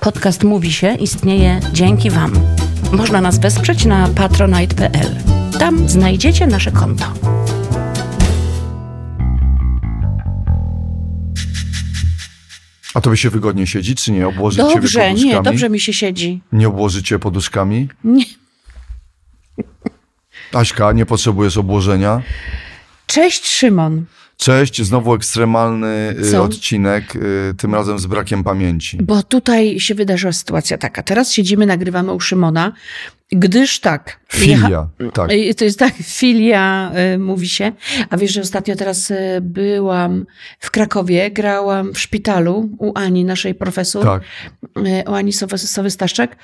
Podcast Mówi się istnieje dzięki Wam. Można nas wesprzeć na patronite.pl. Tam znajdziecie nasze konto. A to by się wygodnie siedzi, czy nie? Obłożycie wy Dobrze, poduszkami? nie, dobrze mi się siedzi. Nie obłożycie poduszkami? Nie. Aśka, nie potrzebujesz obłożenia. Cześć Szymon. Cześć, znowu ekstremalny y, Co? odcinek, y, tym razem z brakiem pamięci. Bo tutaj się wydarzyła sytuacja taka. Teraz siedzimy, nagrywamy u Szymona, gdyż tak. jecha- Filia, tak. Y, To jest tak, filia y, mówi się. A wiesz, że ostatnio teraz y, byłam w Krakowie, grałam w szpitalu u Ani, naszej profesor, Tak. y, u Ani Sowy- Sowy Staszczek.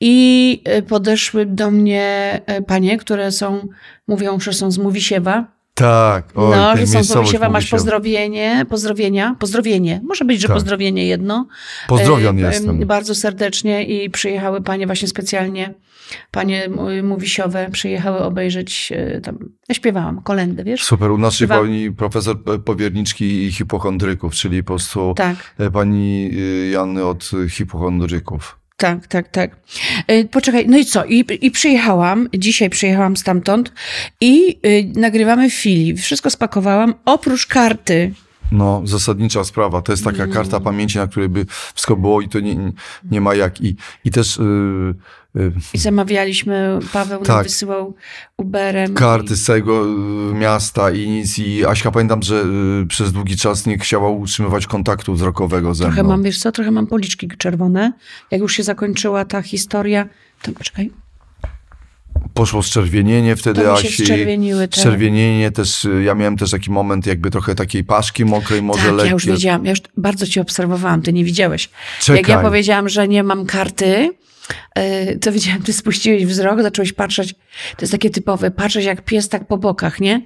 I y, podeszły do mnie y, panie, które są, mówią, że są z Mówisiewa. Tak, oj, No, że tej są z miejscowość Mówisiewa, mówi masz się. pozdrowienie, pozdrowienia, pozdrowienie. Może być, że Tak. pozdrowienie jedno. Pozdrowion E, e, jestem. Bardzo serdecznie i przyjechały panie właśnie specjalnie, panie m- Mówisiowe, przyjechały obejrzeć e, tam, ja śpiewałam kolendę, wiesz? Super, u naszej Chyba- pani profesor e, powierniczki i hipochondryków, czyli po prostu Tak, e, pani y, Jany od y, hipochondryków. tak, tak, tak. E, Poczekaj, no i co? I, I przyjechałam, dzisiaj przyjechałam stamtąd i e, nagrywamy filii. Wszystko spakowałam, oprócz karty. No, zasadnicza sprawa. To jest taka Mm. karta pamięci, na której by wszystko było i to nie, nie ma jak. I, i też y, y, I zamawialiśmy, Paweł nam Tak. wysyłał Uberem. karty z całego y, miasta i nic. I Aśka, pamiętam, że y, przez długi czas nie chciała utrzymywać kontaktu wzrokowego ze mną. Trochę mam, wiesz co, trochę mam policzki czerwone. Jak już się zakończyła ta historia, to poczekaj, Poszło zczerwienienie wtedy To mi się Asi. zczerwieniły te- Zczerwienienie też, y, ja miałem też taki moment jakby trochę takiej paszki mokrej, może tak, lekkiej. ja już wiedziałam, ja już bardzo cię obserwowałam, ty nie widziałeś. Jak Czekaj. ja powiedziałam, że nie mam karty, yy, to widziałam, ty spuściłeś wzrok, zacząłeś patrzeć, to jest takie typowe, patrzeć jak pies tak po bokach, nie?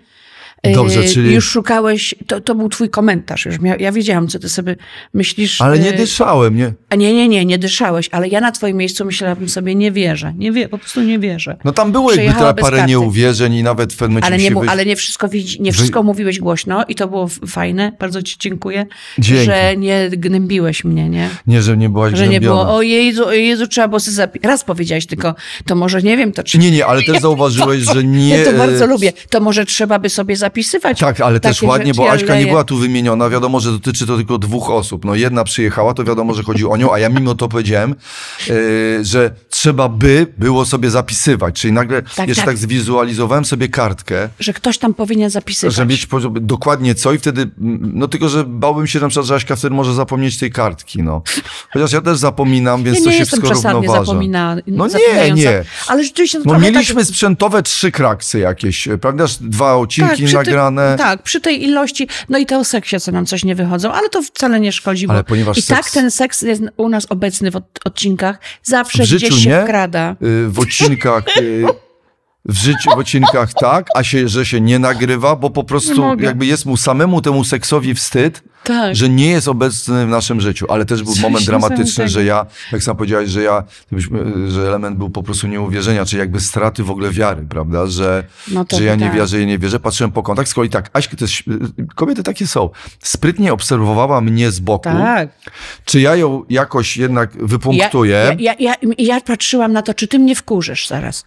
Yy, Dobrze, czyli- Już szukałeś, to, to był twój komentarz, już mia, ja wiedziałam, co ty sobie myślisz. Ale nie yy, dyszałem, nie? a nie, nie, nie, nie dyszałeś, ale ja na twoim miejscu myślałabym sobie, nie wierzę, nie wie, po prostu nie wierzę. No tam było jakby Przyjechała te bez parę karty. nieuwierzeń i nawet w pewnym momencie Ale nie, mi się mu- wy- ale nie wszystko widzi, nie Wy- wszystko mówiłeś głośno i to było f- fajne. Bardzo ci dziękuję, Dzięki. że nie gnębiłeś mnie, nie? Nie, że nie byłaś Że nie gnębiona. było, o Jezu, o Jezu, trzeba było sobie zapi- Raz powiedziałeś tylko, to może nie wiem, to czy... Nie, nie, ale też zauważyłeś, że nie... ja to bardzo e, lubię. To może trzeba by sobie zapisywać. Tak, ale też takie ładnie, rzeczy, bo Aśka ale- nie była tu wymieniona. Wiadomo, że dotyczy to tylko dwóch osób. No jedna przyjechała, to wiadomo, że chodzi o nią, a ja mimo to powiedziałem, e, że trzeba by było sobie zapisywać. Czyli nagle Tak, jeszcze tak. tak. zwizualizowałem sobie kartkę, Że ktoś tam powinien zapisywać. żeby mieć po- dokładnie co i wtedy, mm, no tylko, że bałbym się na przykład, że Aśka wtedy może zapomnieć tej kartki, no. Chociaż ja też zapominam, więc Ja to nie się jestem wszystko przesadnie równoważa. zapomina... No nie, zapominająca, nie. Ale rzeczywiście... to No trochę mieliśmy tak... sprzętowe trzy kraksy jakieś, prawda? Dwa odcinki Tak, przy nagrane. Ty, tak, przy tej ilości. No i te o seksie, co nam coś nie wychodzą, ale to wcale nie szkodzi. Bo Ale ponieważ I seks- tak ten seks jest u nas obecny w od- odcinkach. Zawsze W życiu gdzieś się nie? wkrada. y, w odcinkach. y, W życiu, w odcinkach tak, a się, że się nie nagrywa, bo po prostu mogę. jakby jest mu samemu temu seksowi wstyd, Tak. że nie jest obecny w naszym życiu. Ale też był Coś moment dramatyczny, niesamowitego. że ja, jak sam powiedziałeś, że ja, gdybyśmy, y, że element był po prostu nieuwierzenia, czy jakby straty w ogóle wiary, prawda? Że, No to że ja nie tak. wierzę, ja nie wierzę. Patrzyłem po kontakt, z kolei tak, Aśka też, kobiety takie są, sprytnie obserwowała mnie z boku, Tak. czy ja ją jakoś jednak Ja, wypunktuję. ja, ja, ja, ja patrzyłam na to, czy ty mnie wkurzysz zaraz.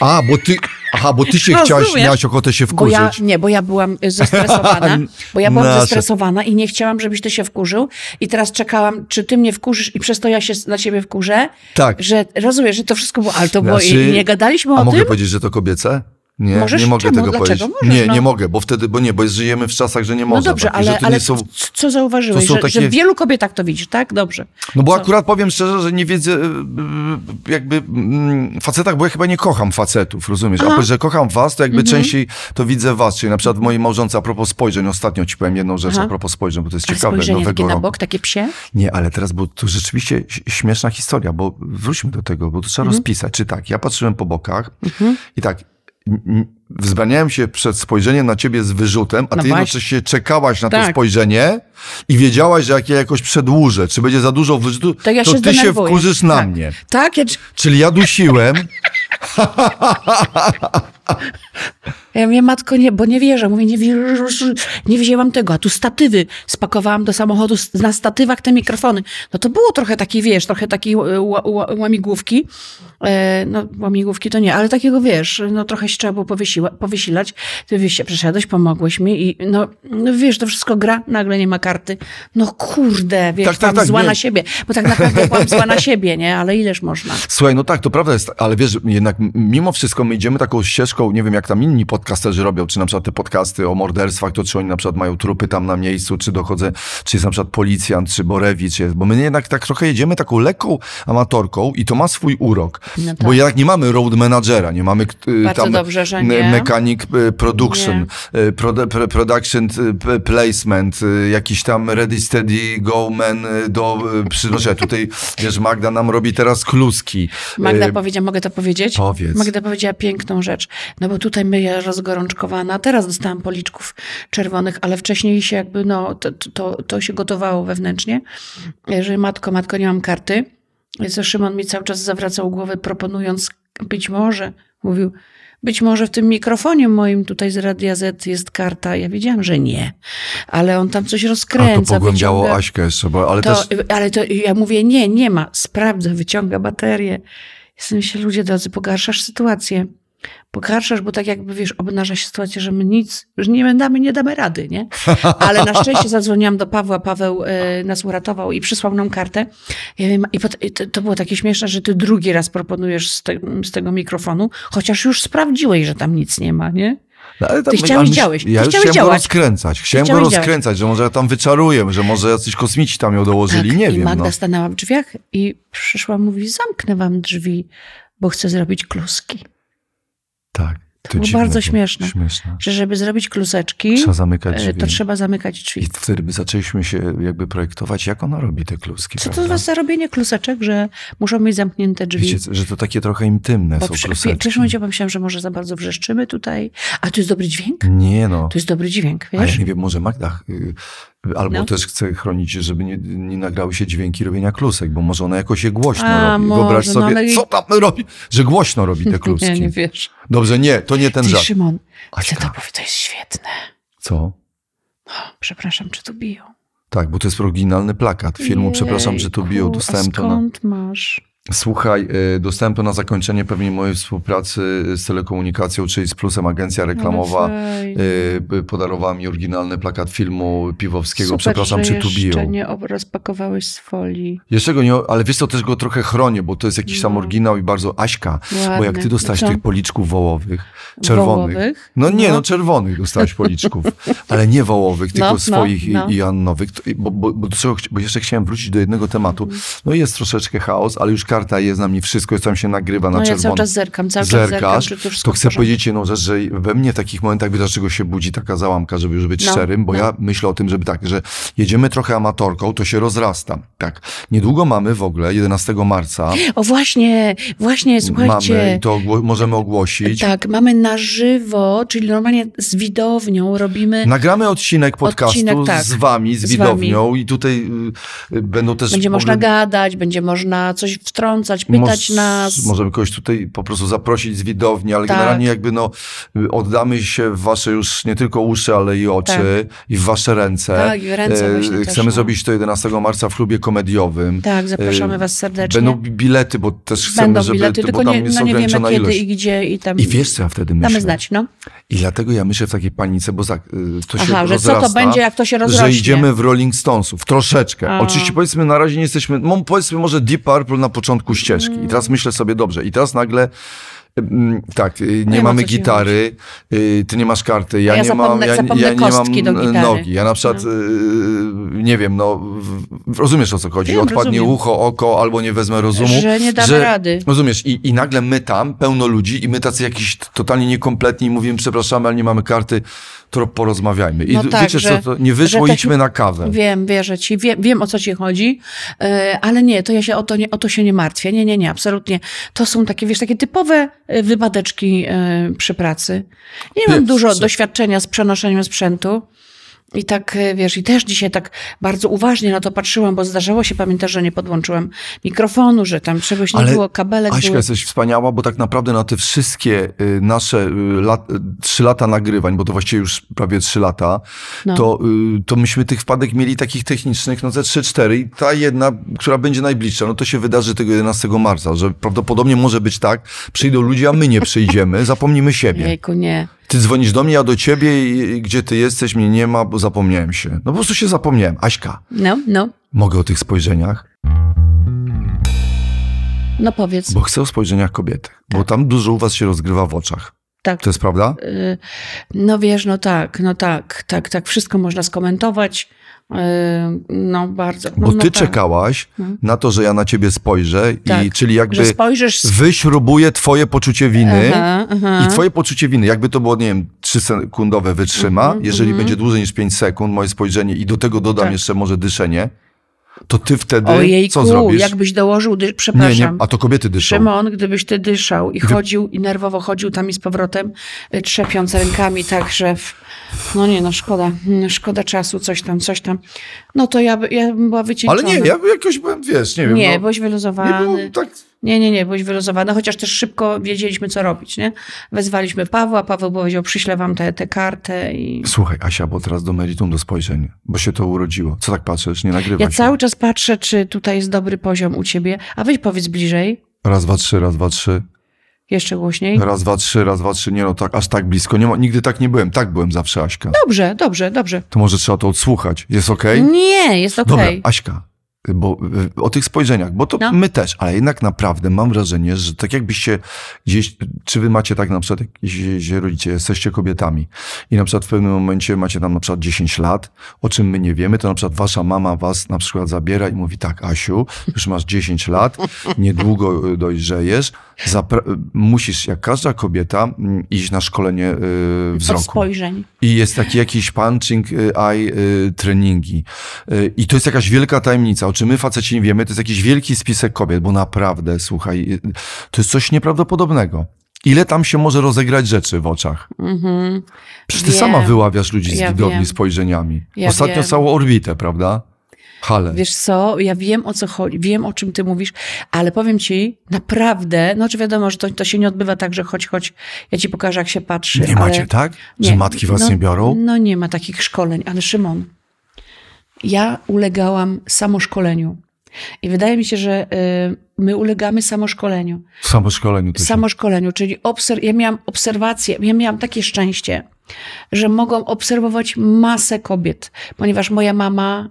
A, bo ty, aha, bo ty się chciałaś, Rozumiesz? miałaś ochotę się Bo wkurzyć. ja, nie, bo ja byłam y, zestresowana. Bo ja byłam Nasze. zestresowana i nie chciałam, żebyś ty się wkurzył. I teraz czekałam, czy ty mnie wkurzysz i przez to ja się na ciebie wkurzę. Tak. Że rozumiesz, że to wszystko było, ale to było Znaczy- i nie gadaliśmy A o mogę tym. powiedzieć, że to kobiece? Nie, Możesz? nie mogę Czemu? tego Dlaczego? powiedzieć. Możesz, nie, no. nie mogę, bo wtedy, bo nie, bo jest- żyjemy w czasach, że nie No można. dobrze, takich, że ale, to ale nie są... c- co zauważyłeś? to są Że, takie- że w wielu kobietach to widzisz, tak? Dobrze. No bo co? akurat powiem szczerze, że nie wiedzę, y, y, jakby mm, facetach, bo ja chyba nie kocham facetów, rozumiesz? A powiedz, że kocham was, to jakby Mhm. częściej to widzę was. Czyli na przykład mojej małżonce, a propos spojrzeń, ostatnio ci powiem jedną rzecz Aha. a propos spojrzeń, bo to jest A ciekawe, spojrzenie takie nowego na roku. bok, takie psie? Nie, ale teraz, bo to rzeczywiście ś- śmieszna historia, bo wróćmy do tego, bo to trzeba Mhm. rozpisać. Czy tak, ja patrzyłem po bokach i tak m- m- wzbraniałem się przed spojrzeniem na ciebie z wyrzutem, a No ty właśnie. jednocześnie czekałaś na to Tak. spojrzenie i wiedziałaś, że jak ja jakoś przedłużę, czy będzie za dużo wyrzutu, To ja się ty się zdenerwuję. wkurzysz na Tak. mnie. Tak, ja, Czyli ja dusiłem. Ja mówię, matko, nie, bo nie wierzę. Mówię, nie, wierzę, nie wzięłam tego. A tu statywy spakowałam do samochodu, s- na statywach te mikrofony. No to było trochę takiej, wiesz, trochę takiej ł- ł- ł- łamigłówki. E, no, łamigłówki to nie, ale takiego, wiesz, no trochę się trzeba było powysiła, powysilać. Ty wiesz, się przeszedłeś, pomogłeś mi i no, no wiesz, to wszystko gra, nagle nie ma karty. No kurde, wiesz, Tak, tak, tak, tam tak, zła nie. na siebie. Bo tak naprawdę byłam zła na siebie, nie? Ale ileż można? Słuchaj, no tak, to prawda jest, ale wiesz, jednak m- mimo wszystko my idziemy taką ścieżką, nie wiem jak tam inni podcasterzy robią, czy na przykład te podcasty o morderstwach, to czy oni na przykład mają trupy tam na miejscu, czy dochodzę, czy jest na przykład policjant, czy Borewicz jest, bo my jednak tak trochę jedziemy taką lekką amatorką i to ma swój urok, No tak. bo jednak nie mamy road managera, nie mamy y, Bardzo tam dobrze, że m- nie. mechanic y, production, y, prode- pr- production y, p- placement, y, jakiś tam ready, steady, go man y, do, y, przynoszę tutaj, wiesz, Magda nam robi teraz kluski. Magda Y, powiedziała, mogę to powiedzieć? powiedz. Magda powiedziała piękną rzecz. No bo tutaj my ja rozgorączkowana, teraz dostałam policzków czerwonych, ale wcześniej się jakby, no to, to, to się gotowało wewnętrznie, że matko, matko, nie mam karty. Co Szymon mi cały czas zawracał głowę, proponując być może, mówił, być może w tym mikrofonie moim tutaj z Radia Z jest karta. Ja wiedziałam, że nie, ale on tam coś A rozkręca. to pogłębiało wyciąga- Aśkę jeszcze, bo, ale to, y, też... Ale to ja mówię, nie, nie ma. Sprawdzę, wyciąga baterię. Jestem się, ludzie drodzy, pogarszasz sytuację. Pogarszasz, bo tak jakby, wiesz, obnaża się sytuacja, że my nic, że nie będziemy, nie damy rady, nie? Ale na szczęście zadzwoniłam do Pawła, Paweł e, nas uratował i przysłał nam kartę. Ja wiem, I pot- i to, to było takie śmieszne, że ty drugi raz proponujesz z, te, z tego mikrofonu, chociaż już sprawdziłeś, że tam nic nie ma, nie? No, ale ty chciałeś ale myśl- działać, ty Ja już chciałem chciałeś go działać. rozkręcać. Chciałem go chciałeś działać. rozkręcać, że może ja tam wyczaruję, że może jacyś kosmici tam ją dołożyli, Tak, nie I wiem. Magda No. stanęła w drzwiach i przyszła, mówi, zamknę wam drzwi, bo chcę zrobić kluski. Tak. To, było dziwne bardzo śmieszne. Śmieszne. że żeby zrobić kluseczki, Trzeba zamykać e, drzwi. to trzeba zamykać I drzwi. wtedy by zaczęliśmy się jakby projektować, jak ona robi te kluski. Co to prawda? za robienie kluseczek, że muszą mieć zamknięte drzwi? Wiecie, że to takie trochę intymne Bo są przy, przy, kluseczki. pierwszym momencie pomyślałam, że może za bardzo wrzeszczymy tutaj. A to jest dobry dźwięk? Nie no. To jest dobry dźwięk, A ja wiesz? nie wiem, może Magda y, albo No. też chce chronić, żeby nie, nie nagrały się dźwięki robienia klusek, bo może ona jakoś je głośno A, robi. może, Wyobraź no sobie, ale i- co tam robi, że głośno robi te kluski. Nie, nie wiesz. Dobrze, nie, to nie ten Ty, żart. Szymon, chcę Aśka. to powiedzieć, to jest świetne. Co? Przepraszam, czy tu biją? Tak, bo to jest oryginalny plakat filmu. Przepraszam, że tu biją. Jejku, Dostałem a to na... skąd masz? Słuchaj, y, dostałem to na zakończenie pewnie mojej współpracy z telekomunikacją, czyli z Plusem Agencja No Reklamowa. Ale fajnie. y, Podarowała mi oryginalny plakat filmu Piwowskiego. Super, Przepraszam, że czy tu biją. jeszcze nie ob- rozpakowałeś z folii. Jeszcze go nie, ale wiesz co, też go trochę chronię, bo to jest jakiś tam No. oryginał i bardzo Aśka, bo Ładny. jak ty dostałaś Co? tych policzków wołowych, czerwonych. Wołowych? No nie, no, No. czerwonych dostałaś policzków, ale nie wołowych, tylko No, no, swoich i- no. i Annowych, To- bo, bo, bo, do czego chci- bo jeszcze chciałem wrócić do jednego tematu. Mhm. No jest troszeczkę chaos, ale już karta jest na mnie wszystko, jest tam się nagrywa na No ja czerwono. cały czas zerkam, cały czas zerkam, Zerkasz, czy to wszystko to w chcę porządku. powiedzieć jedną rzecz, że we mnie w takich momentach wiesz, dlaczego się budzi taka załamka, żeby już być No, szczerym, bo no. ja myślę o tym, żeby tak, że jedziemy trochę amatorką, to się rozrasta. Tak. Niedługo mamy w ogóle 11 marca. O właśnie, właśnie, słuchajcie. Mamy i to ogło- możemy ogłosić. Tak, mamy na żywo, czyli normalnie z widownią robimy. Nagramy odcinek podcastu Odcinek, tak. z wami, z, Z widownią i tutaj y, y, będą też... będzie w można ogóle- gadać, będzie można coś wtrącać, pytać Moż- nas. Możemy kogoś tutaj po prostu zaprosić z widowni, ale Tak. generalnie jakby no y, oddamy się w wasze już nie tylko uszy, ale i oczy i w wasze ręce. Tak, i w ręce E, właśnie też, Chcemy no. zrobić to 11 marca w klubie komediowym. Tak, zapraszamy Y, was serdecznie. Będą bi- bilety, bo też chcemy, Będą żeby... bilety, bo tylko tam nie, jest no nie wiemy ograniczona kiedy ilość. i gdzie i tam. I wiesz, co ja wtedy myślę? Damy znać, no. I dlatego ja myślę w takiej panice, bo za, y, to się Aha, że co to rozrasta, będzie, jak to się Że rozrośnie. idziemy w Rolling Stonesów, troszeczkę. A. Oczywiście powiedzmy, na razie nie jesteśmy, no, powiedzmy może Deep Purple na początku ścieżki. I Mm. teraz myślę sobie, dobrze, i teraz nagle... mm, Tak, y, nie, mamy wiem, No o co ci gitary, y, ty nie masz karty, ja, Ja nie mam, zapomnę- ja, zapomnę ja nie kostki mam do e, gitary. No. nogi. Ja na przykład, y, nie wiem, no, w- w- rozumiesz o co chodzi, Wiem, odpadnie rozumiem. ucho, oko, albo nie wezmę rozumu. Że nie damy rady. Rozumiesz, I, i nagle my tam, pełno ludzi i my tacy jakiś t- totalnie niekompletni i mówimy, przepraszamy, ale nie mamy karty, to porozmawiajmy. I No d- tak, wiecie co, że- to nie wyszło, że tak- idźmy na kawę. Wiem, wierzę ci, wiem, wiem o co ci chodzi, e, ale nie, to ja się o to, nie, o to się nie martwię. Nie, nie, nie, absolutnie. To są takie, wiesz, takie typowe e, wypadeczki e, przy pracy. Nie mam Wiesz dużo co? doświadczenia z przenoszeniem sprzętu. I tak, e, wiesz, i też dzisiaj tak bardzo uważnie na to patrzyłam, bo zdarzało się, pamiętasz, że nie podłączyłam mikrofonu, że tam czegoś nie Ale było, kabelek Aśka, był. jesteś wspaniała, bo tak naprawdę na te wszystkie y, nasze y, lat, y, trzy lata nagrywań, bo to właściwie już prawie trzy lata, No. to, y, to myśmy tych wpadek mieli takich technicznych, no ze trzy, cztery i ta jedna, która będzie najbliższa, no to się wydarzy tego 11 marca, że prawdopodobnie może być tak, przyjdą ludzie, a my nie przyjdziemy, zapomnimy siebie. Jejku, nie. Ty dzwonisz do mnie, ja do ciebie i, i gdzie ty jesteś, mnie nie ma, bo zapomniałem się. No po prostu się zapomniałem. Aśka, No, no. mogę o tych spojrzeniach? No powiedz. Bo chcę o spojrzeniach kobiety, bo tam dużo u was się rozgrywa w oczach. tak. To jest prawda? Y, No wiesz, no tak, no tak, tak, tak, wszystko można skomentować. Y, No bardzo. Bo no, ty tak, czekałaś Mhm. na to, że ja na ciebie spojrzę, i Tak, czyli Że jakby spojrzysz... z- wyśrubuję twoje poczucie winy. Aha, aha. I twoje poczucie winy, jakby to było, nie wiem, trzysekundowe wytrzyma, Mhm, jeżeli mhm. będzie dłużej niż 5 sekund, moje spojrzenie i do tego dodam Tak. jeszcze może dyszenie, to ty wtedy Ojejku, co zrobisz? jakbyś dołożył, dy... nie, nie, przepraszam. a to kobiety dyszą. Szymon, gdybyś ty dyszał i chodził i nerwowo chodził tam i z powrotem, y, trzepiąc rękami tak, że w... no nie, no szkoda, mm, szkoda czasu, coś tam, coś tam. No to ja, by- ja bym była wycieńczona. Ale nie, ja jakoś byłem, wiesz, nie wiem. Nie, no, byłeś nie było wyluzowany. tak, Nie, nie, nie, byłeś wyluzowana, chociaż też szybko wiedzieliśmy, co robić, nie? Wezwaliśmy Pawła, Paweł powiedział, przyślę wam tę te, te kartę i... Słuchaj, Asia, bo teraz do meritum, do spojrzeń, bo się to urodziło. Co tak patrzysz? Nie nagrywa Ja się. cały czas patrzę, czy tutaj jest dobry poziom u ciebie, a weź powiedz bliżej, Raz, dwa, trzy, raz, dwa, trzy. jeszcze głośniej. Raz, dwa, trzy, raz, dwa, trzy. Nie no, tak, aż tak blisko. Nie ma, nigdy tak nie byłem. Tak byłem zawsze, Aśka. Dobrze, dobrze, dobrze. To może trzeba to odsłuchać. Jest okej? Nie, jest Dobra, okej. Aśka, bo y, o tych spojrzeniach, bo to No. my też, ale jednak naprawdę mam wrażenie, że tak jakbyście gdzieś, czy wy macie tak na przykład, jak się- się rodzicie, jesteście kobietami i na przykład w pewnym momencie macie tam na przykład 10 lat, o czym my nie wiemy, to na przykład wasza mama was na przykład zabiera i mówi tak, Asiu, już masz 10 lat, niedługo y, dojrzejesz, zapra- y, musisz jak każda kobieta y, iść na szkolenie y, Od wzroku. spojrzeń. I jest taki jakiś punching y, eye y, treningi. Y, I to jest jakaś wielka tajemnica. O czym my faceci nie wiemy, to jest jakiś wielki spisek kobiet, bo naprawdę, słuchaj, y, to jest coś nieprawdopodobnego. Ile tam się może rozegrać rzeczy w oczach? Mhm. Przecież ty Wiem. sama wyławiasz ludzi z Ja widowni wiem. spojrzeniami. Ja Ostatnio wiem. całą orbitę, prawda? Hale. Wiesz co, ja wiem o co chodzi, wiem o czym ty mówisz, ale powiem ci, naprawdę, no czy wiadomo, że to, to się nie odbywa tak, że chodź, chodź, ja ci pokażę jak się patrzy. nie ale... macie, tak? Że Nie. matki was no, nie biorą? No nie ma takich szkoleń, ale Szymon, ja ulegałam samoszkoleniu. I wydaje mi się, że y, my ulegamy samoszkoleniu. W samoszkoleniu to się... Samoszkoleniu, czyli obser- ja miałam obserwację, ja miałam takie szczęście, że mogłam obserwować masę kobiet, ponieważ moja mama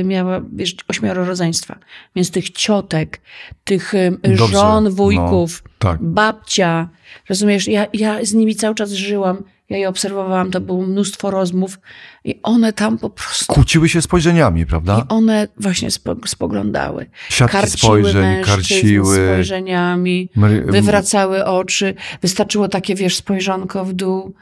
y, miała wiesz, ośmioro rodzeństwa, więc tych ciotek, tych y, Dobrze, żon, no. wujków, Tak. babcia. Rozumiesz, ja, ja z nimi cały czas żyłam, ja je obserwowałam, to było mnóstwo rozmów i one tam po prostu, Kłóciły się spojrzeniami, prawda? i one właśnie spo, spoglądały. Siatki spojrzeń, mężczyzn karciły. spojrzeniami, Mary- wywracały oczy, wystarczyło takie, wiesz, spojrzonko w dół,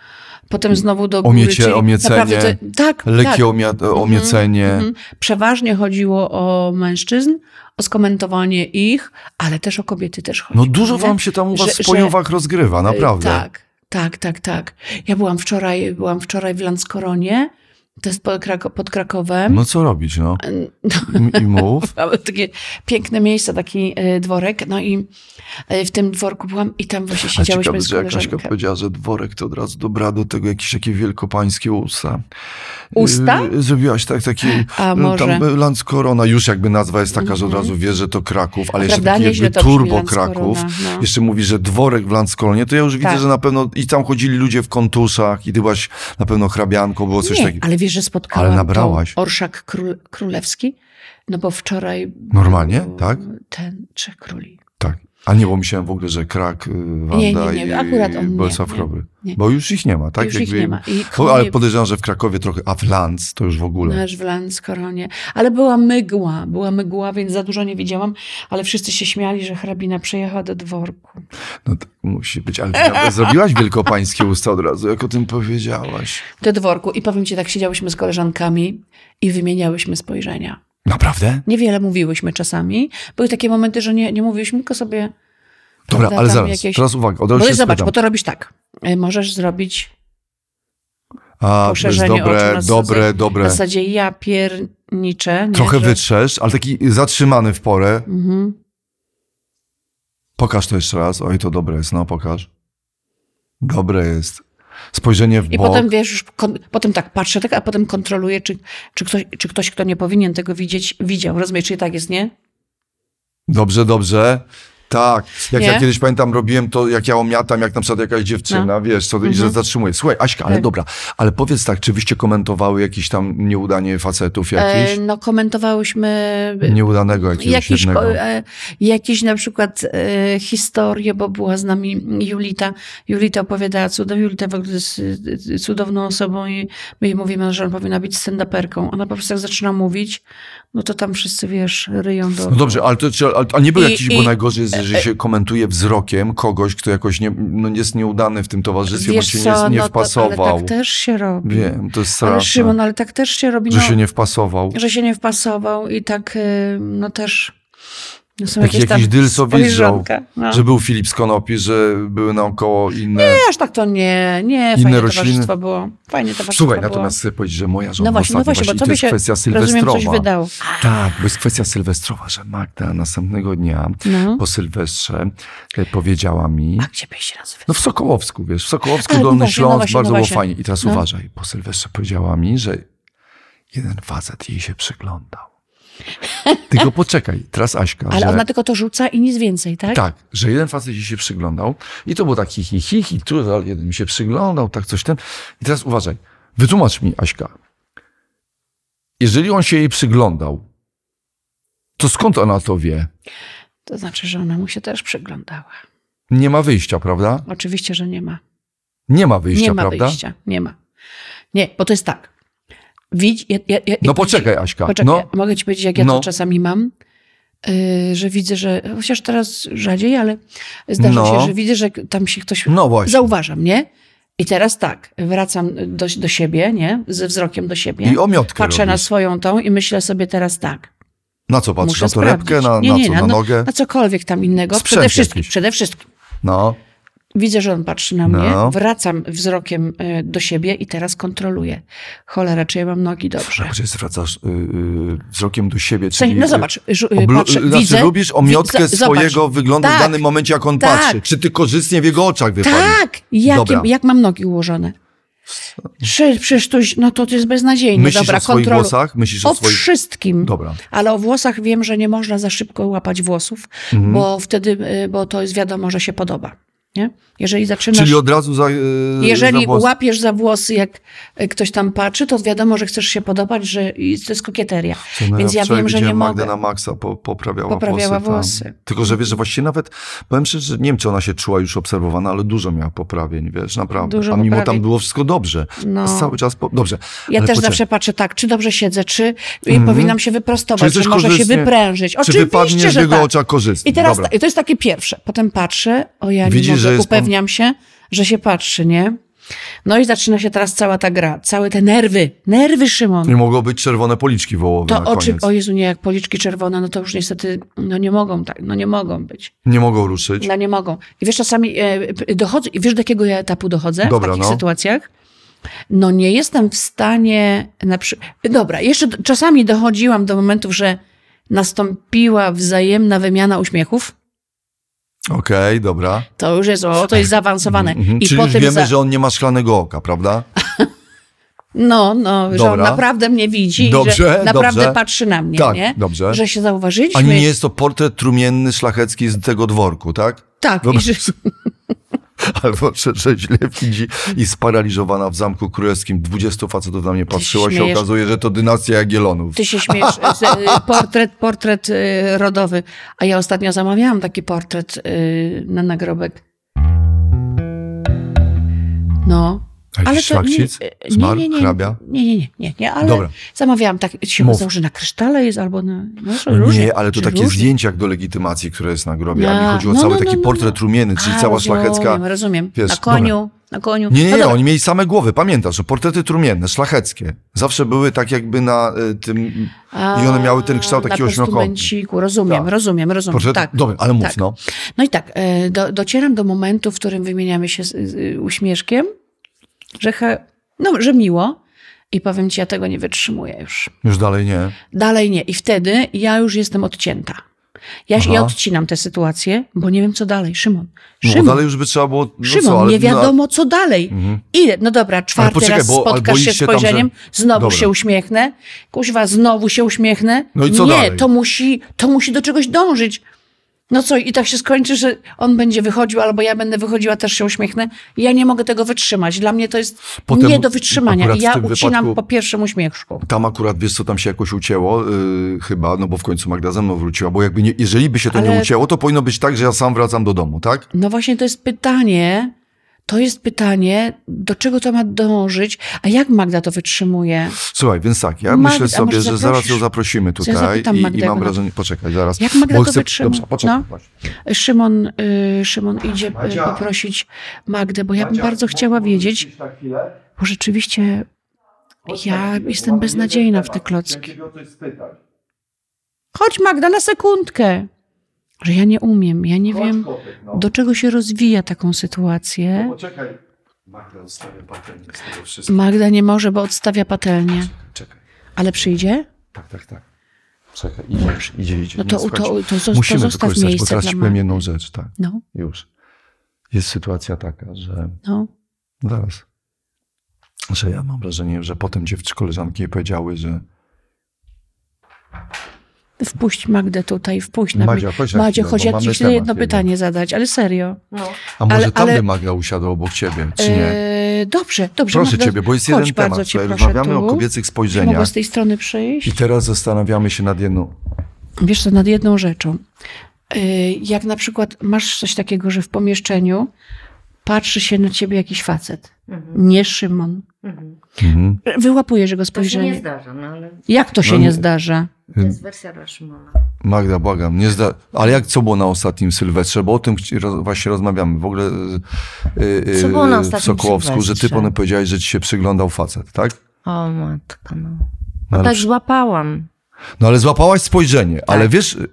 potem znowu do góry. Omiecie- czyli omiecenie, naprawdę to- tak, tak. Lekkie omia- omiecenie. Mhm. Przeważnie chodziło o mężczyzn, o skomentowanie ich, ale też o kobiety też chodzi. No dużo nie? wam się tam u was Że- w pojowach rozgrywa, naprawdę. Tak, tak, tak, tak. Ja byłam wczoraj, byłam wczoraj w Landskoronie, to jest pod, Krako- pod Krakowem. No co robić, no? Y, I, i mów. Mamy takie piękne miejsce, taki y, dworek. No i y, w tym dworku byłam i tam właśnie A siedziałyśmy ciekawe, z że jak Kaśka koleżanką. powiedziała, że dworek to od razu dobra do tego jakieś takie wielkopańskie usta. Usta? Y, Zrobiłaś tak, taki A, y, może. Mhm. tam Lands Korona, już jakby nazwa jest taka, że od razu wiesz, że to Kraków, ale jeszcze Prawda? taki jakby Nieźle to brzmi, turbo Lands Korona, Kraków. no. Jeszcze mówi, że dworek w Landskoronie, to ja już widzę, Tak. że na pewno i tam chodzili ludzie w kontuszach i ty byłaś na pewno hrabianką, było coś Nie, takiego. ale wiesz, że spotkałam Ale nabrałaś. tą Orszak Król, Królewski, no bo wczoraj... Normalnie, był tak? Ten Trzech Króli. Tak. A nie, bo myślałem w ogóle, że Krak, y, Wanda nie, i akurat on nie, Bolesław nie, Chrobry. nie. Bo już ich nie ma, tak? Już ich nie ma. I O, ale konie- podejrzewam, że w Krakowie trochę, a w Lanz to już w ogóle. Nasz w Landskoronie. Ale była mygła, była mygła, więc za dużo nie widziałam, ale wszyscy się śmiali, że hrabina przejechała do dworku. No tak musi być, ale ty naprawdę zrobiłaś wielkopańskie usta od razu, jak o tym powiedziałaś. Do dworku. I powiem ci, tak siedziałyśmy z koleżankami i wymieniałyśmy spojrzenia. Naprawdę? Niewiele mówiłyśmy czasami. Były takie momenty, że nie, nie mówiłyśmy, tylko sobie... Dobra, prawda, ale tam zaraz, jakieś- teraz uwaga, od Bo tak. razu się zobacz, spytam. bo to robisz tak. Y, Możesz zrobić A, to jest Poszerzenie oczu dobre, na dobre, zasadzie- W dobre. zasadzie ja pierniczę. Nie, Trochę że- wytrzesz, ale taki zatrzymany w porę. Mhm. Pokaż to jeszcze raz. Oj, to dobre jest, no pokaż. Dobre jest. Spojrzenie w I bok. potem wiesz, już kon- potem tak patrzę, tak, a potem kontroluję, czy, czy, ktoś, czy ktoś, kto nie powinien tego widzieć, widział. Rozumiesz, czy tak jest, nie? Dobrze, dobrze. Tak. Jak ja Nie? kiedyś pamiętam, robiłem to, jak ja omiatam, jak na przykład jakaś dziewczyna, wiesz, co, i że zatrzymuje. Słuchaj, Aśka, ale No. Mhm. Tak. dobra, ale powiedz tak, czy wyście komentowały jakieś tam nieudanie facetów E, jakiś? no, komentowałyśmy y, Nieudanego jakiegoś Jakieś, jednego. ko- e, jakieś na przykład e, historie, bo była z nami Julita. Julita opowiadała cudownie. Julita w ogóle jest e, cudowną osobą i my jej mówimy, że ona powinna być stand-uperką. Ona po prostu jak zaczyna mówić, no to tam wszyscy, wiesz, ryją do... No dobrze, ale, to, czy, ale a nie był I- jakiś, bo i- e, najgorzej jest, że się komentuje wzrokiem kogoś, kto jakoś nie, no jest nieudany w tym towarzystwie, bo się nie, nie no to, ale wpasował. tak też się robi. Wiem, to jest ale straszne, Szymon, ale tak też się robi. że no, się nie wpasował. że się nie wpasował i tak, e, no też... No są Taki jakieś tam jakiś dyl sobie wziął, spojrzonka, no. że był Filip z Konopi, że były naokoło inne... Nie, aż tak to nie, nie, Inne fajne rośliny. towarzystwo było. Fajnie towarzystwo Słuchaj, było. natomiast chcę powiedzieć, że moja żona No właśnie, ostatnio no właśnie, bo właśnie, co to by jest kwestia się, rozumiem, coś sylwestrowa. wydało. Tak, bo jest kwestia sylwestrowa, że Magda następnego dnia No. po sylwestrze e, powiedziała mi... A gdzie byś się nazywa? No w Sokołowsku, wiesz, w Sokołowsku, Ale no Dolny właśnie, no Śląsk, właśnie, bardzo no było właśnie. fajnie. I teraz No. uważaj, po Sylwestrze powiedziała mi, że jeden facet jej się przyglądał. Tylko poczekaj, teraz Aśka, Ale że... ona tylko to rzuca i nic więcej, tak? Tak, że jeden facet jej się przyglądał i to był taki hi, hi, hi, tu ale jeden mi się przyglądał, tak coś ten. I teraz uważaj, wytłumacz mi, Aśka. Jeżeli on się jej przyglądał, to skąd ona to wie? To znaczy, że ona mu się też przyglądała. Nie ma wyjścia, prawda? Oczywiście, że nie ma. Nie ma wyjścia, nie ma prawda? wyjścia, nie ma. Nie, bo to jest tak. Widz, ja, ja, ja, No poczekaj, Aśka. Poczekaj, no, mogę ci powiedzieć, jak ja No. to czasami mam, yy, że widzę, że, chociaż teraz rzadziej, ale zdarza No. się, że widzę, że tam się ktoś no właśnie. Zauważam, nie? I teraz tak, wracam do, do siebie, nie? Ze wzrokiem do siebie. I omiotkę Patrzę na robisz. swoją tą i myślę sobie teraz tak. Na co patrzysz? muszę Na torebkę, sprawdzić. na, Nie, na nie, no, co? Na na- nogę? Na cokolwiek tam innego. Sprzęt Przede wszystkim, jakiś. przede wszystkim. No, Widzę, że on patrzy na No. mnie, wracam wzrokiem y, do siebie i teraz kontroluję. Cholera, czy ja mam nogi dobrze. że zwracasz y, y, wzrokiem do siebie, W sensie, czyli... no zobacz, żu- y, Oblu- patrzę, znaczy, widzę. lubisz omiotkę wi- za- zobacz. swojego wyglądu w Tak. danym momencie, jak on Tak. patrzy. Czy ty korzystnie w jego oczach wypadnie? Tak, jakie, Dobra. jak mam nogi ułożone. Czy, przecież to, no to, to jest beznadziejne. Myślisz Dobra, o swoich kontrolu- włosach? Myślisz o, O swoich... wszystkim. Dobra. Ale o włosach wiem, że nie można za szybko łapać włosów, Mhm. bo wtedy, y, bo to jest wiadomo, że się podoba. Nie? Jeżeli zaczynasz. Czyli od razu za... y, jeżeli za włos- łapiesz za włosy, jak y, ktoś tam patrzy, to wiadomo, że chcesz się podobać, że i to jest kokieteria. Co, no Więc ja wczoraj wiem, że nie widziałem Magdę mogę. na maksa po, poprawiała, Poprawiała włosy. tam. włosy. Tylko, że wiesz, że właściwie nawet, powiem szczerze, że nie wiem, czy ona się czuła już obserwowana, ale dużo miała poprawień, wiesz, naprawdę. Dużo A mimo tam poprawień. było wszystko dobrze. No. Cały czas... Po... Dobrze. Ja ale też poczekaj. Mhm. zawsze patrzę tak, czy dobrze siedzę, czy y, powinnam się Czyli wyprostować, coś czy może się korzystnie- wyprężyć. Czy Oczywiście, wypadniesz w że jego tak. oczach korzystnie? I teraz tak- Dobra. ta, i to jest takie pierwsze. Potem patrzę, o ja Widzisz, nie mogę, że jest pan- upewniam się, że się patrzy, nie? No i zaczyna się teraz cała ta gra, całe te nerwy, nerwy Szymon. Nie mogą być czerwone policzki wołowe To na oczy, koniec. o Jezu, nie, jak policzki czerwone, no to już niestety, no nie mogą tak, no nie mogą być, Nie mogą ruszyć. no nie mogą. I wiesz, czasami e, p- dochodzę, i wiesz do jakiego ja etapu dochodzę Dobra, w takich no. sytuacjach? No nie jestem w stanie, na przy... dobra, jeszcze d- czasami dochodziłam do momentów, że nastąpiła wzajemna wymiana uśmiechów, Okej, dobra. To już jest, o, to jest zaawansowane. Mhm. No. I Czyli już potem wiemy, za... że on nie ma szklanego oka, prawda? No, no, że on Dobra. naprawdę mnie widzi, Dobrze, że naprawdę dobrze. patrzy na mnie, tak, nie? dobrze. Że się zauważyliśmy. Ani nie jest to portret trumienny, szlachecki z tego dworku, tak? Tak, i Wyobraź że... sobie. Albo że, że źle widzi i sparaliżowana w Zamku Królewskim. 20 facetów na mnie patrzyło się śmiejesz. okazuje, że to dynastia Jagiellonów. Ty się śmiejesz, z, y, portret, portret y, rodowy. A ja ostatnio zamawiałam taki portret y, na nagrobek. No. A jakiś szlachcic? Zmarł? nie, nie, Hrabia? Nie, nie, nie, nie, nie ale Dobra. zamawiałam tak, się Mów. założy na krysztale jest albo na... No, że różnie, Nie, ale to czy takie różnie. zdjęcie jak do legitymacji, które jest na grobie. A mi Ja. chodziło o No, cały no, taki no, no, portret no. trumienny, czyli A, cała rozumiem, szlachecka. Rozumiem, Wiesz, na koniu, na koniu. Nie, nie, No nie, dobra. oni mieli same głowy. Pamiętasz, że portrety trumienne, szlacheckie, zawsze były tak jakby na y, tym... A, I one miały ten kształt na takiego ośmiokąta. postumenciku. Rozumiem, Tak. rozumiem, rozumiem. Portret... Tak. Dobra, ale mów, tak. no. No i tak, e, do, docieram do momentu, w którym wymieniamy się z, z, uśmieszkiem, że he, No, że miło. I powiem ci, ja tego nie wytrzymuję już. Już dalej nie. Dalej nie. I wtedy ja już jestem odcięta. Ja, się, Aha. ja odcinam tę sytuację, bo nie wiem, co dalej. Szymon. No Szymon, bo dalej już by trzeba było... No Szymon co, ale, nie no, wiadomo, co dalej. Mhm. Ile? No dobra, czwarty poczekaj, raz bo- ale spotkasz się boisz z się tam, spojrzeniem, znowu Dobra. się uśmiechnę, kuźwa, znowu się uśmiechnę. No i co nie, dalej? to musi, to musi do czegoś dążyć. No co, i tak się skończy, że on będzie wychodził, albo ja będę wychodziła, też się uśmiechnę. Ja nie mogę tego wytrzymać. Dla mnie to jest Potem nie do wytrzymania. akurat w Ja tym ucinam wypadku- po pierwszym uśmieszku. Tam akurat, wiesz co, tam się jakoś ucięło, yy, chyba, no bo w końcu Magda ze mną wróciła, bo jakby nie, jeżeli by się to nie Ale- ucięło, to powinno być tak, że ja sam wracam do domu, tak? No właśnie to jest pytanie, to jest pytanie, do czego to ma dążyć, a jak Magda to wytrzymuje? Słuchaj, więc tak, ja Magda, myślę a sobie, że może zaraz zaprosisz? ją zaprosimy Co ja tutaj zapytam i, Magdę, i jak mam ona- wrażenie, poczekaj, zaraz. Jak Magda bo to chcę, wytrzyma? Dobrze, poczekaj. No. właśnie. Szymon, y, Szymon idzie y, Madzia. no, poprosić Magdę, bo ja bym bardzo chciała wiedzieć, bo rzeczywiście ja jestem beznadziejna w te klocki. Chodź Magda na sekundkę, że ja nie umiem, ja nie wiem, no. do czego się rozwija taką sytuację. Poczekaj. Magda zostawia patelnię z tego wszystkiego. Magda nie może, bo odstawia patelnię. Czekaj. Ale przyjdzie? Tak, tak, tak. Czekaj, idzie, już, idzie, idzie. No to, Nie, to, to, słuchajcie, to, zo- to Musimy zostaw wykorzystać, bo miejsce teraz dla ci powiem Magdy. jedną rzecz, tak, No, już. Jest sytuacja taka, że no. zaraz, że ja mam wrażenie, że potem dziewczy koleżanki jej powiedziały, że Wpuść Magdę tutaj, wpuść na Madzia, mnie. chodź na Madzie, chwilę, chodź, bo ja mamy ci chcę jedno temat pytanie zadać, ale serio. a może Ale- tam ale- by Magda usiadła obok ciebie, czy nie? Eee, dobrze, dobrze. proszę Magda, ciebie, bo jest chodź, jeden temat. bardzo cię Tutaj proszę rozmawiamy tu. o kobiecych Czy Mogę spojrzeniach z tej strony przyjść? i teraz zastanawiamy się nad jedną. Wiesz co, nad jedną rzeczą. Yy, Jak na przykład masz coś takiego, że w pomieszczeniu patrzy się na ciebie jakiś facet. Nie Szymon. Mhm. Mhm. Wyłapujesz jego To się nie spojrzenie. zdarza, no ale Jak to się No nie- nie zdarza? to jest wersja dla Szymona. Magda, błagam, nie zda... Ale jak co było na ostatnim Sylwestrze? Bo o tym chci- roz... właśnie rozmawiamy. W ogóle yy, yy, Co było na w ostatnim Sokołowsku, że ty Sylwestrze? potem powiedziałeś, że ci się przyglądał facet, tak? O matka, no. No No ale, tak przy- złapałam. no ale złapałaś spojrzenie. Tak. Ale wiesz, y,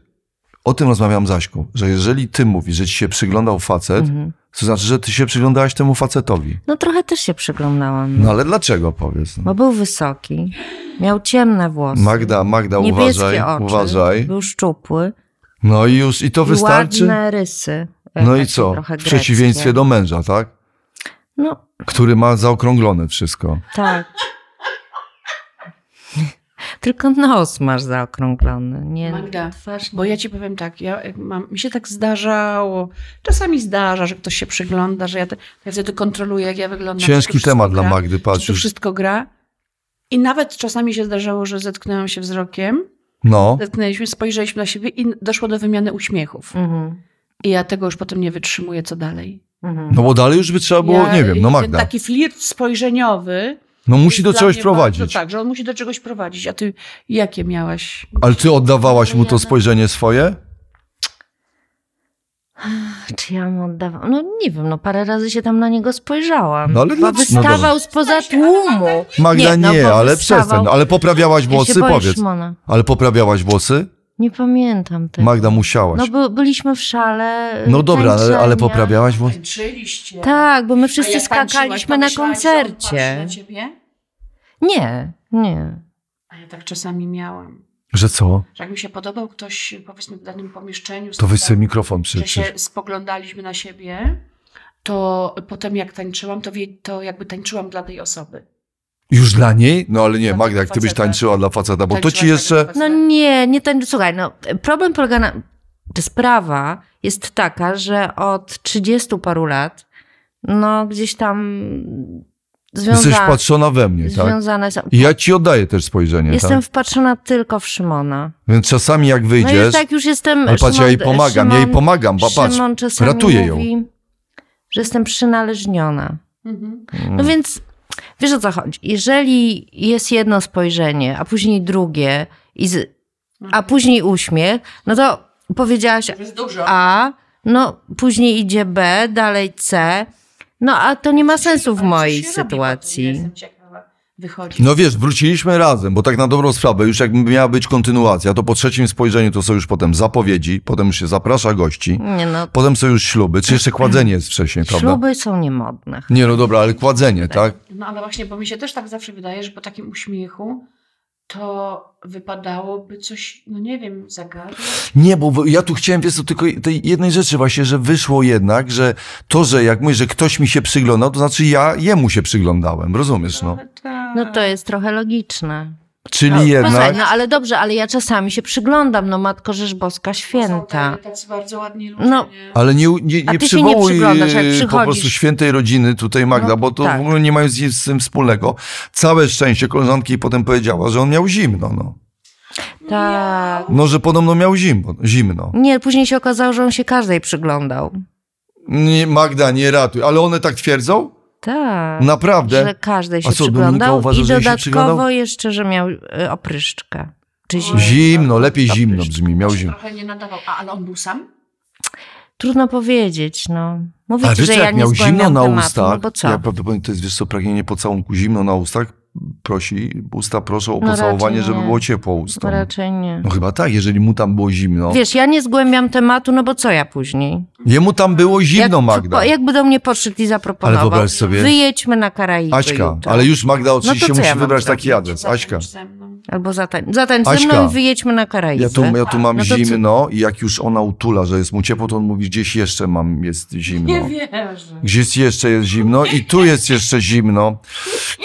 o tym rozmawiałam z Aśką, że jeżeli ty mówisz, że ci się przyglądał facet, Mhm. to znaczy, że ty się przyglądałaś temu facetowi. No trochę też się przyglądałam. No ale dlaczego, powiedz? No. Bo był wysoki, miał ciemne włosy. Magda, Magda, niebieskie uważaj, oczy, uważaj. Był szczupły. No i już, i to I wystarczy? ładne rysy. e, No i takie co? trochę W przeciwieństwie greckie. do męża, tak? No Który ma zaokrąglone wszystko. tak. Tylko nos masz zaokrąglony. Nie, Magda, twarz nie. Bo ja ci powiem tak, ja jak mam, mi się tak zdarzało. Czasami zdarza, że ktoś się przygląda, że ja, te, ja wtedy kontroluję, jak ja wyglądam. czy to Ciężki wszystko temat dla gra. Magdy, patrz czy to już. wszystko gra. I nawet czasami się zdarzało, że zetknęłam się wzrokiem, No, zetknęliśmy, spojrzeliśmy na siebie i doszło do wymiany uśmiechów. Mhm. I ja tego już potem nie wytrzymuję, co dalej. Mhm. no bo dalej już by trzeba było, ja, nie wiem, no ten Magda. Taki flirt spojrzeniowy. No musi jest do dla czegoś mnie prowadzić. Bardzo, tak, że on musi do czegoś prowadzić. A ty jakie miałaś? Ale ty oddawałaś mu to Ja- spojrzenie swoje? Czy ja mu oddawałam? No nie wiem, no parę razy się tam na niego spojrzałam. No ale bo dlaczego? No wystawał spoza tłumu. Magda nie, no bo ale wystawał. przestań. Ale poprawiałaś Ja się włosy? boję Powiedz. Szymona. Ale poprawiałaś włosy? Nie pamiętam Tak. tego. Magda, musiałaś. No bo byliśmy w szale. y, y, No dobra, ale, tańczenia. ale poprawiałaś włosy? Tańczyliście. Tak, bo my A wszyscy jak tańczyłaś, skakaliśmy na pomyślałaś, że on patrzy koncercie. Na ciebie? Nie, nie. A ja tak czasami miałam. Że co? Że jak mi się podobał ktoś, powiedzmy, w danym pomieszczeniu. To weź stał- sobie mikrofon że się przyczysz. spoglądaliśmy na siebie, to potem jak tańczyłam, to, wie, to jakby tańczyłam dla tej osoby. Już dla niej? No ale nie, Dla Magda, tego jak ty byś faceta. Tak, tańczyła dla faceta, bo to Tańczyłaś ci dla jeszcze... tego No faceta. nie, nie ten. Słuchaj, no problem polega na. Czy sprawa jest taka, że od 30 paru lat, no gdzieś tam Jesteś związana. wpatrzona we mnie, tak? Związane są. I ja ci oddaję też spojrzenie, Jestem tak? wpatrzona tylko w Szymona. Więc czasami jak No i wyjdziesz... już tak już jestem. Ale patrz, ja jej Szymon- pomagam, ja jej pomagam, bo patrz, Szymon czasami ratuję ją. mówi, że jestem przynależniona. Mhm. Mm. No więc wiesz o co chodzi. Jeżeli jest jedno spojrzenie, a później drugie, i z, Mhm. a później uśmiech, no to powiedziałaś To jest dużo. A, no później idzie B, dalej C. No a to nie ma sensu w Ale co mojej się robi potem? Ja sytuacji. jestem ciekawa. Wychodzi. No wiesz, wróciliśmy razem, bo tak na dobrą sprawę, już jakby miała być kontynuacja, to po trzecim spojrzeniu to są już potem zapowiedzi, potem już się zaprasza gości, Nie no, potem są już śluby, czy jeszcze kładzenie jest wcześniej, prawda? śluby są niemodne. Nie, no dobra, ale kładzenie, tak? No ale właśnie, bo mi się też tak zawsze wydaje, że po takim uśmiechu to wypadałoby coś, no nie wiem, zagadnąć. Nie, bo w- ja tu chciałem, wiesz, co, tylko tej jednej rzeczy właśnie, że wyszło jednak, że to, że jak mówię, że ktoś mi się przyglądał, to znaczy ja jemu się przyglądałem, rozumiesz, no. Ale tak. No to jest trochę logiczne. Czyli No, Posłuchaj, jednak... no ale dobrze, ale ja czasami się przyglądam, no Matko Rzesz Boska Są Święta. tacy- tacy bardzo ładni ludzie, No. nie? Ale nie, u- nie, A nie ty się nie przywołuj przyglądasz, jak e, po przychodzisz. prostu świętej rodziny tutaj Magda, No, bo to tak. w ogóle nie mają z nic z tym wspólnego. Całe szczęście koleżanki potem powiedziała, że on miał zimno, no. Tak. No, że podobno miał zimno. zimno. Nie, później się okazało, że on się każdej przyglądał. Nie, Magda, nie ratuj. Ale one tak twierdzą? Tak. Naprawdę? Że każdej się A co, Dominika przyglądał uważa, i że jej się dodatkowo przyglądał? jeszcze, że miał y, opryszczkę. Czy zimno. Zimno, lepiej zimno brzmi, miał zimno. Trochę nie nadawał. A, ale on był sam? Trudno powiedzieć, no. A Mówić, wiecie, że ja jak nie miał zimno zgłębiam na tematu, ustach, no bo co? ja prawdopodobnie to jest, wiesz co, pragnienie pocałunku, zimno na ustach, prosi, usta proszą o No pocałowanie, raczej żeby nie. było ciepło ustom. Raczej nie. No chyba tak, jeżeli mu tam było zimno. Wiesz, ja nie zgłębiam tematu, no bo co ja później? Jemu tam było zimno, Jak- Magda. po- Jakby do mnie podszedł i zaproponował. Ale wyobraź sobie- Wyjedźmy na Karaiby Aśka, jutro. ale już Magda oczywiście No co ja musi mam wybrać zrobić? taki adres. Zatem Aśka, No. ze mną. Albo zatań, zatań ze Aśka, mną i wyjedźmy na Karaiby. ja tu, ja tu mam No to co? zimno i jak już ona utula, że jest mu ciepło, to on mówi, gdzieś jeszcze mam, jest zimno. Nie wierzę. Gdzieś jeszcze jest zimno i tu jest jeszcze zimno.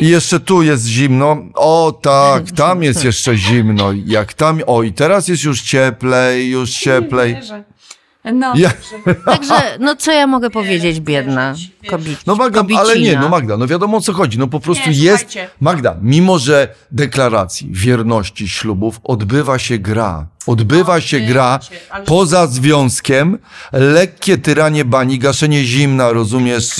I jeszcze tu jest zimno. O tak, tam jest jeszcze zimno. Jak tam, o i teraz jest już cieplej, już cieplej. Nie wierzę. No, Ja- dobrze. Także, no co ja mogę powiedzieć, biedna wierzyć, wierzyć. kobiet, No Magda, kobicina. ale nie, no Magda, no wiadomo o co chodzi. No po prostu Nie, jest, słuchajcie. Magda, mimo że deklaracji wierności ślubów odbywa się gra. Odbywa się gra No, ale- poza związkiem, lekkie tyranie bani, gaszenie zimna, rozumiesz,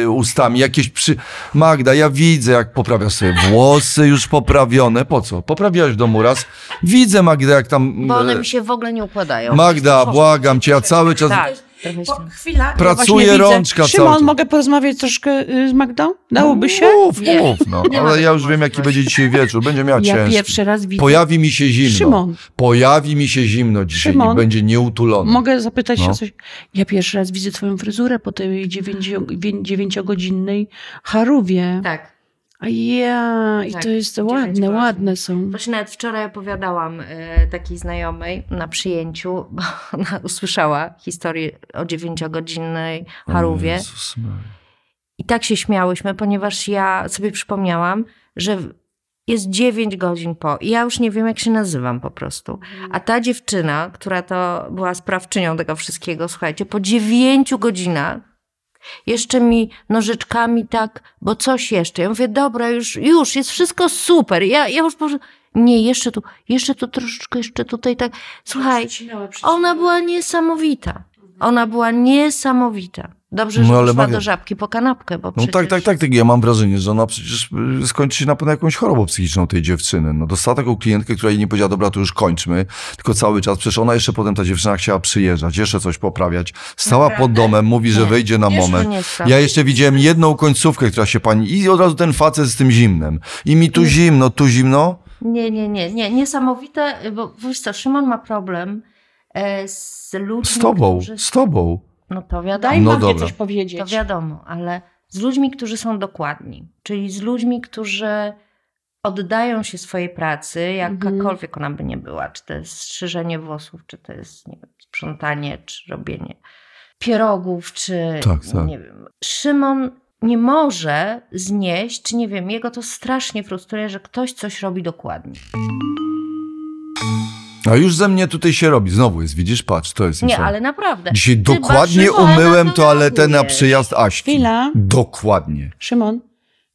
yy, ustami, jakieś przy... Magda, ja widzę, jak poprawiasz sobie włosy już poprawione. Po co? Poprawiałaś w domu raz. Widzę, Magda, jak tam... Bo one e, mi się w ogóle nie układają. Magda, błagam cię, ja cały czas... tak, trochę Bo się... chwila, Pracuje właśnie widzę. rączka cały Szymon, czas. mogę porozmawiać troszkę y, z Magdą? Dałoby się? Mów, mów, no. Nie ma Ale takiej ja już wiem, jaki będzie dzisiaj wieczór. Będzie miała Ja ciężki. pierwszy raz widzę. Pojawi mi się zimno. Szymon. Pojawi mi się zimno dzisiaj Szymon. i będzie nieutulony. Mogę zapytać się No. o coś? Ja pierwszy raz widzę twoją fryzurę po tej dziewięcio- wie- dziewięciogodzinnej harówie. Tak. A ja, i Tak, to jest dziewięć ładne, godzin. ładne są. Właśnie nawet wczoraj opowiadałam e, takiej znajomej na przyjęciu, bo ona usłyszała historię o dziewięciogodzinnej harówie. Jezus Maria. I tak się śmiałyśmy, ponieważ ja sobie przypomniałam, że w- jest 9 godzin po i ja już nie wiem, jak się nazywam po prostu. A ta dziewczyna, która to była sprawczynią tego wszystkiego, słuchajcie, po 9 godzinach jeszcze mi nożyczkami tak, bo coś jeszcze. Ja mówię, dobra, już, już, jest wszystko super. Ja, ja już po prostu, nie, jeszcze tu, jeszcze tu troszeczkę, jeszcze tutaj tak. Słuchaj, Przecinała, przecinała. ona była niesamowita. Ona była niesamowita. Dobrze, No, że ale poszła Magia- do żabki po kanapkę, bo No przecież... tak, tak, tak, tak. Ja mam wrażenie, że ona przecież y, skończy się na pewno jakąś chorobą psychiczną tej dziewczyny. No dostała taką klientkę, która jej nie powiedziała, dobra, to już kończmy, tylko cały czas. Przecież ona jeszcze potem, ta dziewczyna chciała przyjeżdżać, jeszcze coś poprawiać. Stała pod domem, mówi, że Nie. wyjdzie na Wiesz, że moment. nie jest prawda. Ja jeszcze widziałem jedną końcówkę, która się pani... I od razu ten facet z tym zimnem. I mi tu zimno, tu zimno. Nie, nie, nie, nie, niesamowite, bo wiesz co, Szymon ma problem e, z ludźmi, Z tobą, którzy... z tobą. No to Daj wiadomo, No no Magdzie dobra. coś powiedzieć. to wiadomo, ale z ludźmi, którzy są dokładni, czyli z ludźmi, którzy oddają się swojej pracy, jakakolwiek ona by nie była, czy to jest strzyżenie włosów, czy to jest nie wiem, sprzątanie, czy robienie pierogów, czy Tak, tak. nie wiem. Szymon nie może znieść, czy nie wiem, jego to strasznie frustruje, że ktoś coś robi dokładnie. A już ze mnie tutaj się robi. Znowu jest, widzisz, patrz, to jest Nie, niesamowite. ale naprawdę. Dzisiaj Ty dokładnie patrzysz, ale umyłem na to toaletę na reagujesz. przyjazd Aśki. Chwila. Dokładnie. Szymon,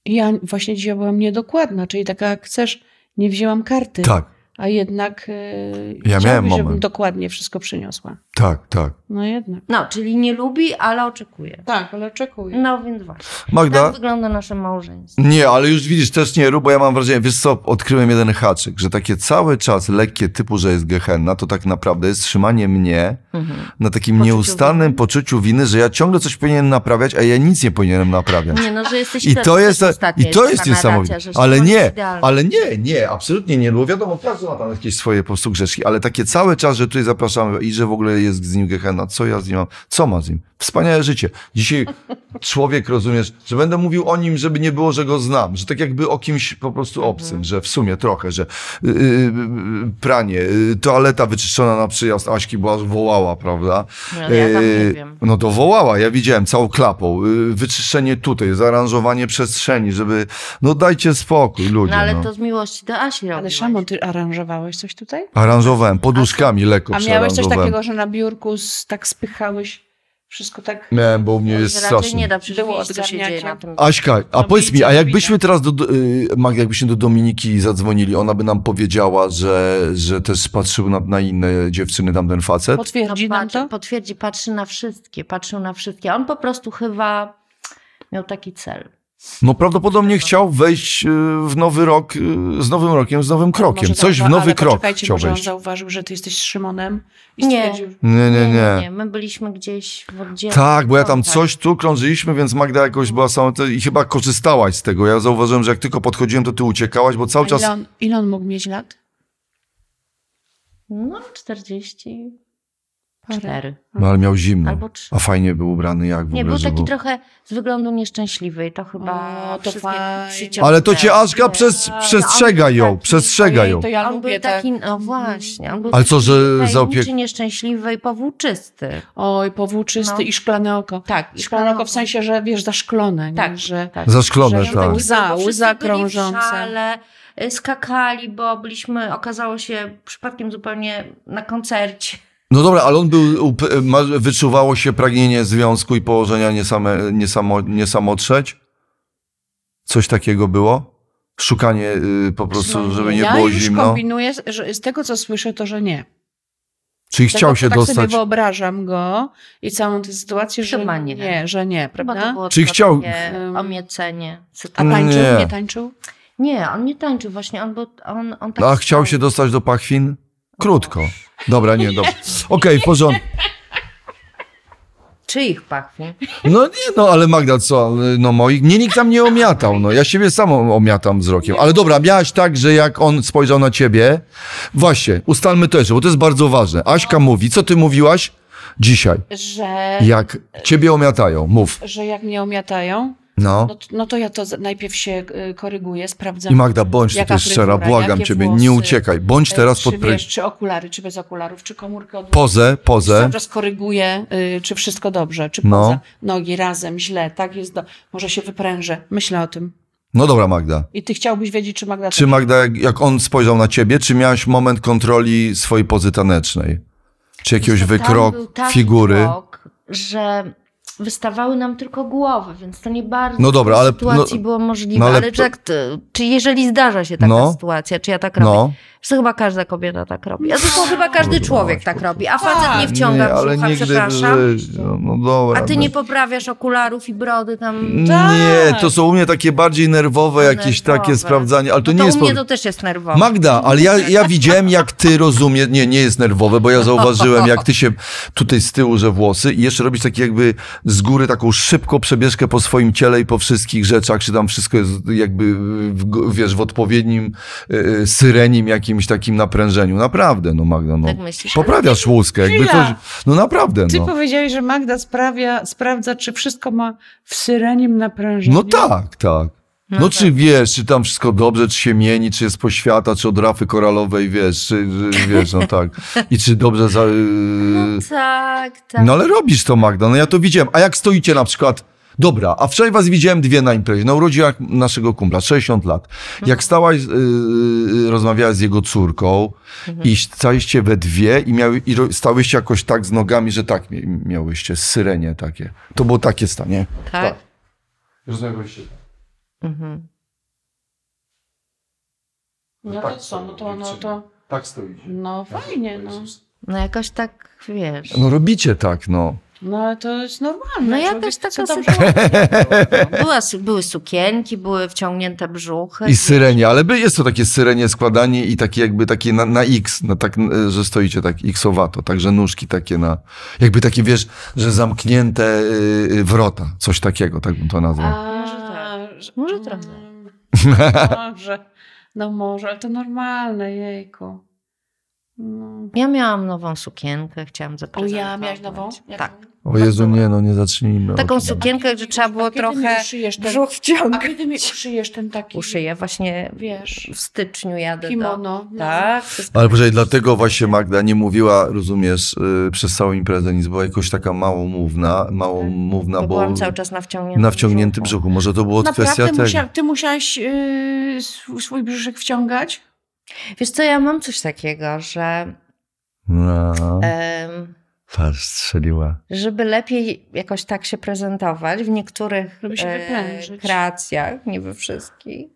ja właśnie dzisiaj byłam niedokładna, czyli taka jak chcesz, nie wzięłam karty. Tak, A jednak yy, Ja miałem żebym moment. dokładnie wszystko przyniosła. tak, tak. No jednak. No, czyli nie lubi, ale oczekuje. Tak, ale oczekuję. No więc właśnie. Magda? Tak wygląda nasze małżeństwo. Nie, ale już widzisz, też nie rób, bo ja mam wrażenie, wiesz co, odkryłem jeden haczyk, że takie cały czas lekkie typu, że jest gehenna, to tak naprawdę jest trzymanie mnie na takim Mhm. Poczuciu nieustannym winy. poczuciu winy, że ja ciągle coś powinienem naprawiać, a ja nic nie powinienem naprawiać. Nie, no, że jesteś I też- to też jest, ostatnio i to jest jest taka narracja, niesamowite. że Ale Szymon nie, jest idealny. ale nie, nie, absolutnie nie. Bo wiadomo, każdy zaczyna tam jakieś swoje po prostu grzeszki, ale takie cały czas, że tutaj zapraszamy i że w ogóle jest z nim Gehenna. Co ja z nim mam? Co ma z nim? Wspaniałe życie. Dzisiaj człowiek, rozumiesz, że będę mówił o nim, żeby nie było, że go znam, że tak jakby o kimś po prostu Mhm. obcym, że w sumie trochę, że yy, yy, pranie, yy, toaleta wyczyszczona na przyjazd Aśki była, wołała, prawda? No, ja tam nie Yy, wiem. no to wołała, ja widziałem całą klapą. Yy, Wyczyszczenie tutaj, zaaranżowanie przestrzeni, żeby. No dajcie spokój, ludzie. No No, ale to z miłości do Asi Ale robiłaś. Szamon, ty aranżowałeś coś tutaj? Aranżowałem, poduszkami lekko A miałeś coś przearanżowałem. takiego, że na biurku z, tak spychałeś wszystko tak... Miałem, bo u mnie jest Że raczej nie strasznie. da, przecież Było widzisz, co się odgarniacie. dzieje na tym. Aśka, a Robiliście powiedz mi, a to jakbyśmy widać. teraz do, do- yy, Magda, jakbyśmy do Dominiki zadzwonili, ona by nam powiedziała, że, że też patrzył na, na inne dziewczyny tam ten facet? No, Potwierdzi nam patrzy, to? potwierdzi, patrzy na wszystkie, patrzył na wszystkie. On po prostu chyba miał taki cel. No prawdopodobnie chciał wejść yy, w nowy rok, yy, z nowym rokiem, z nowym krokiem. Może Coś w zauwa- nowy ale krok poczekajcie, chciał może on wejść. zauważył, że ty jesteś z Szymonem i Nie. stwierdził, Nie, nie, nie. My byliśmy gdzieś w oddziale. No, Tak, bo ja tam coś tu krążyliśmy, więc Magda jakoś była sama te- i chyba korzystałaś z tego. Ja zauważyłem, że jak tylko podchodziłem, to ty uciekałaś, bo a cały czas... ile, on, ile on mógł mieć lat? No, 44. No ale miał zimno. Albo 3. A fajnie był ubrany, jak w Nie, ogóle, był że taki był... trochę z wyglądu nieszczęśliwy i to chyba O, to wszystkie fajnie. przyciągnęło. Ale to cię Ażka Nie. przez, No, przestrzega on był ją, taki- przestrzega Ojej, ją. To ja on lubię był tak. taki, no właśnie. On był Ale co, że taki zaopiek... tajemniczy, nieszczęśliwy i powłóczysty. Oj, powłóczysty No. i szklane oko. Tak, I szklane oko w sensie, że wiesz, zaszklone, nie? Tak. Że tak. Zaszklone, Że- tak. Łza, No Wszyscy łza byli w krążąca. szale, y, skakali, bo byliśmy, okazało się przypadkiem zupełnie na koncercie. No dobra, ale on był... up- ma- Wyczuwało się pragnienie związku i położenia niesame, niesamo, niesamotrzeć? Coś takiego było? Szukanie y, po prostu, żeby nie ja było już zimno? kombinuję, że z tego co słyszę, to że nie. Czyli Z chciał tego, się co tak dostać... sobie wyobrażam go i całą tę sytuację, że Chyba nie. nie, że nie, Chyba prawda? to było Czyli tylko chciał- takie omiecenie. A sytuacji. tańczył? Nie. Nie, tańczył? Nie, on nie tańczył właśnie, on był, on, on tak No, A chciał stał. się dostać do pachwin? Krótko. Dobra, nie, dobra. Okej, w porządku. Czyich pachwi? No nie, no ale Magda, co? No moich? Nie, nikt tam nie omiatał, no. Ja siebie sam omiatam wzrokiem. Ale dobra, miałaś tak, że jak on spojrzał na ciebie... Właśnie, ustalmy też, bo to jest bardzo ważne. Aśka mówi, co ty mówiłaś dzisiaj? Że, Jak ciebie omiatają, mów. że jak mnie omiatają, No. no, t- no to ja to z- najpierw się y, koryguję, sprawdzam. I Magda, bądź Jaka tutaj szczera, fryzura, błagam jakie ciebie, nie włosy, E, uciekaj. Bądź teraz y, czy, pod... pry- wiesz, czy okulary, czy bez okularów, czy komórkę od Pozę, pozę. Cały czas koryguję, y, czy wszystko dobrze, czy No. poza nogi razem, źle, tak jest, do... może się wyprężę. Myślę o tym. No dobra, Magda. I ty chciałbyś wiedzieć, czy Magda... Czy Magda, jak, jak on spojrzał na ciebie, czy miałaś moment kontroli swojej pozy tanecznej? Czy jakiegoś Że tam wykrok był taki figury? Krok, że wystawały nam tylko głowy, więc to nie bardzo No dobra, w tej ale- sytuacji no- było możliwe. no ale ale to- czy, jak, ty- czy jeżeli zdarza się taka No. sytuacja, czy ja tak robię? No, To chyba każda kobieta tak robi. A zresztą chyba każdy Kurwa, człowiek masz, tak kurwa. robi. A facet nie wciąga nie, ale brzucha, nigdy w przepraszam. życiu. No dobra. A ty no. nie poprawiasz okularów i brody Mm, tam. No Nie, to są u mnie takie bardziej nerwowe, jakieś nerwowe. takie sprawdzanie, ale to no nie to jest... u mnie po- to też jest nerwowe. Magda, ale ja, ja widziałem, jak ty rozumiesz. Nie, nie jest nerwowe, bo ja zauważyłem, jak ty się tutaj z tyłu, że włosy i jeszcze robisz taki jakby z góry taką szybką przebieżkę po swoim ciele i po wszystkich rzeczach, czy tam wszystko jest jakby, w, g- wiesz, w odpowiednim y, syrenim jakimś takim naprężeniu. Naprawdę, no Magda, no. Tak myślisz? Poprawiasz łuskę, jakby Chwila. coś, no naprawdę, Ty no. powiedziałeś, że Magda sprawia, sprawdza, czy wszystko ma w syreniem naprężeniu. No tak, tak. No, czy wiesz, czy tam wszystko dobrze, czy się mieni, czy jest poświata, czy od rafy koralowej, wiesz, czy, czy wiesz, no tak. I czy dobrze za... yy, No tak, tak. No ale robisz to, Magda, no ja to widziałem. A jak stoicie na przykład... Dobra, a wczoraj was widziałem dwie na imprezie, na urodzinach naszego kumpla, 60 lat. Mhm. Jak stałaś, yy, yy, rozmawiałaś z jego córką Mhm. i staliście we dwie i, miały, i ro- stałyście jakoś tak z nogami, że tak mi- miałyście, syrenie takie. To było takie stanie. tak. Rozmawiałyście Mhm. No to co, no to, no to, Tak stoicie. no fajnie, no. No jakoś tak wiesz. No robicie tak, no. No ale to jest normalne. No ja Człowiek też chce taka dobrze- sytuacja. była. Była, su- były sukienki, były wciągnięte brzuchy. I syrenie, ale by- jest to takie syrenie składanie i takie jakby takie na, na X, na tak, e, że stoicie tak X-owato, także nóżki takie na, jakby takie wiesz, że zamknięte y, y, wrota, coś takiego, tak bym to nazwał. A, Może tak. że- Może trochę. Mm, Dobrze. No może, ale to normalne, jejku. No. Ja miałam nową sukienkę, chciałam O zaprezentować. ja, miałeś nową? Tak. O Jezu, nie, no nie zacznijmy. o Taką tym. sukienkę, że trzeba było A kiedy mi trochę uszyjesz ten, brzuch A wciągnąć. kiedy mi uszyjesz ten taki, Uszyję właśnie wiesz, w styczniu jadę do... kimono? No. Tak. to jest- Ale poczekaj, dlatego właśnie Magda nie mówiła, rozumiesz, yy, przez całą imprezę nic, była jakoś taka małomówna, małomówna, Bo No bo Mhm. byłam cały czas na wciągniętym na wciągniętym brzuchu. Może to było kwestia Naprawdę tego. musiał, ty musiałaś yy, sw- swój brzuszek wciągać? Wiesz co, ja mam coś takiego, że No, em, patrz, strzeliła. żeby lepiej jakoś tak się prezentować w niektórych Żeby się e, wyprężyć. kreacjach, nie we wszystkich,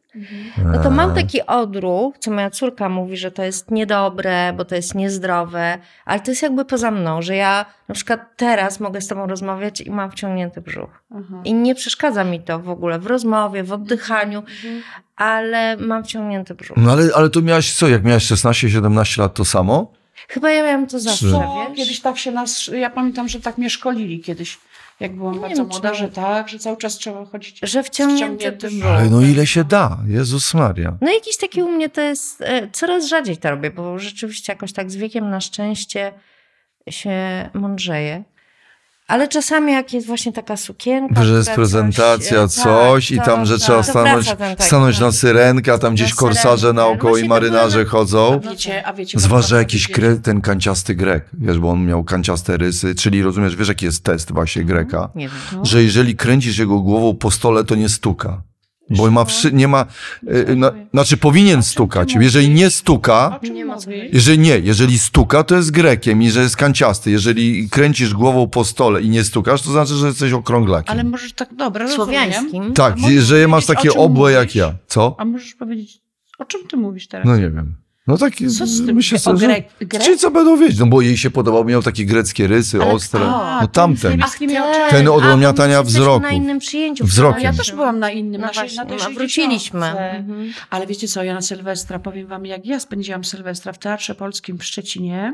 No to E, mam taki odruch, co moja córka mówi, że to jest niedobre, bo to jest niezdrowe, ale to jest jakby poza mną, że ja na przykład teraz mogę z tobą rozmawiać i mam wciągnięty brzuch. Aha. I nie przeszkadza mi to w ogóle w rozmowie, w oddychaniu, Mhm. ale mam wciągnięty brzuch. No ale, ale to miałaś co, jak miałaś 16-17 lat to samo? Chyba ja miałam to zawsze, Czy- O, wiesz? kiedyś tak się nas, ja pamiętam, że tak mnie szkolili kiedyś, jak byłam Nie bardzo wiem, czy- młoda, że tak, że cały czas trzeba chodzić Że z wciągnięty wciągniętym brzuch. Ale brzuchem. no ile się da, Jezus Maria. No jakiś taki u mnie to jest, e, coraz rzadziej to robię, bo rzeczywiście jakoś tak z wiekiem na szczęście się mądrzeje. Ale czasami jak jest właśnie taka sukienka, Że jest która prezentacja, e, coś, i to- tam, że to- trzeba to stanąć, wraca ten no. taki- stanąć na syrenkę, a tam tak. Na gdzieś syrenkę. no korsarze naokoło Właśnie i to marynarze były- chodzą. A wiecie, a wiecie, Zwłaszcza można jakiś powiedzieć- kre, ten kanciasty Grek, wiesz, bo on miał kanciaste rysy, czyli rozumiesz, wiesz jaki jest test właśnie Greka, No, Nie wiem. że jeżeli kręcisz jego głową po stole, to nie stuka. Bo ma wszy, nie ma, e, na, znaczy powinien stukać. Jeżeli nie O stuka, czym Nie ma co mówisz? jeżeli nie, jeżeli stuka, to jest Grekiem i że jest kanciasty. Jeżeli kręcisz głową po stole i nie stukasz, to znaczy, że jesteś okrąglakiem. Ale możesz tak, dobra, rozumiem. Słowiańskim. tak, a możesz że masz powiedzieć, o takie czym obłe jak mówisz? tak. ja. Co? A możesz powiedzieć, o czym ty mówisz teraz? No nie wiem. No tak, Co z tym? myślę O, sobie, że... Grek- Grek? Czyli co będą wiedzieć? No bo jej się podobał, miał takie greckie rysy, Ale- ostre. a, no to tamten. Ach, nie miał Ten- Ten odłamniatania Tak. a my jesteśmy wzroku. Na innym przyjęciu. Wzrokiem. Ja też byłam na innym, No na, właśnie, właśnie, na tej no, 60. wróciliśmy. Mhm. Ale wiecie co, ja na Sylwestra, powiem wam, jak ja spędziłam Sylwestra w Teatrze Polskim w Szczecinie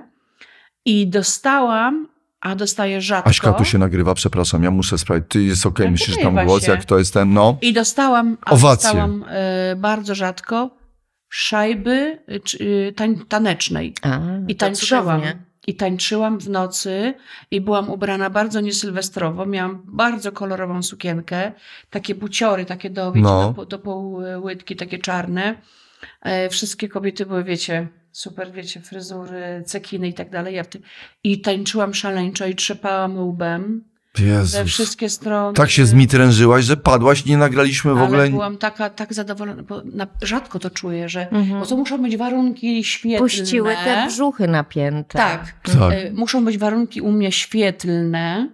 i dostałam, a dostaję rzadko. Aśka tu się nagrywa, przepraszam, ja muszę sprawdzić. Ty jest okej, Ja myślisz nagrywa tam głos, się. jak to jest ten, no. I dostałam, a Owacje. dostałam e, bardzo rzadko szajby y, czy, y, tań, tanecznej. A, I to tańczyłam. cudownie. I tańczyłam w nocy i byłam ubrana bardzo niesylwestrowo. Miałam bardzo kolorową sukienkę, takie buciory, takie do, wiecie, No. do, po- do połydki, takie czarne. E, wszystkie kobiety były, wiecie, super, wiecie, fryzury, cekiny i tak dalej. Ja w tym... I tańczyłam szaleńczo i trzepałam łbem we Jezus. wszystkie strony. Tak się zmitrężyłaś, że padłaś, nie nagraliśmy w Ale ogóle. byłam taka, tak zadowolona, bo na, rzadko to czuję, że Mhm. bo to muszą być warunki świetne. Puściły te brzuchy napięte. Tak. Tak. Y, Muszą być warunki u mnie świetlne,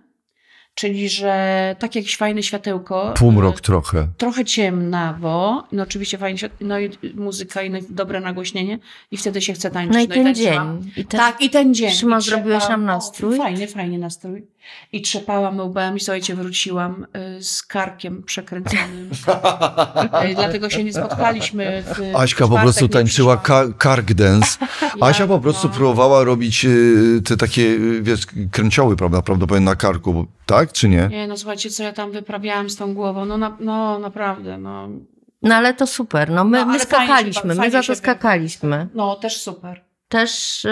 czyli że tak jakieś fajne światełko. Półmrok y, trochę. Trochę ciemnawo, no oczywiście fajnie, świat- no i muzyka i dobre nagłośnienie i wtedy się chce tańczyć. No i ten tańczyłam. dzień. I ten... Tak, i ten dzień. Szymon, I zrobiłeś trzepałam- nam nastrój? O, Fajny, fajny nastrój. I trzepałam łbem i słuchajcie, wróciłam y, z karkiem przekręconym. Y, Dlatego się nie spotkaliśmy. W, w Aśka po Y, czwartek prostu nie tańczyła przyszła. ka- kark dance. Asia po Ja- prostu no. próbowała robić y, te takie, y, wiesz, kręcioły, prawda, prawdopodobnie na karku, bo- tak czy nie? Nie, no słuchajcie, co ja tam wyprawiałam z tą głową. No, na, no naprawdę, no. No ale to super. No my, No, my ale fajnie się skakaliśmy, ba- my fajnie za się to wy- skakaliśmy. No, też super. Też,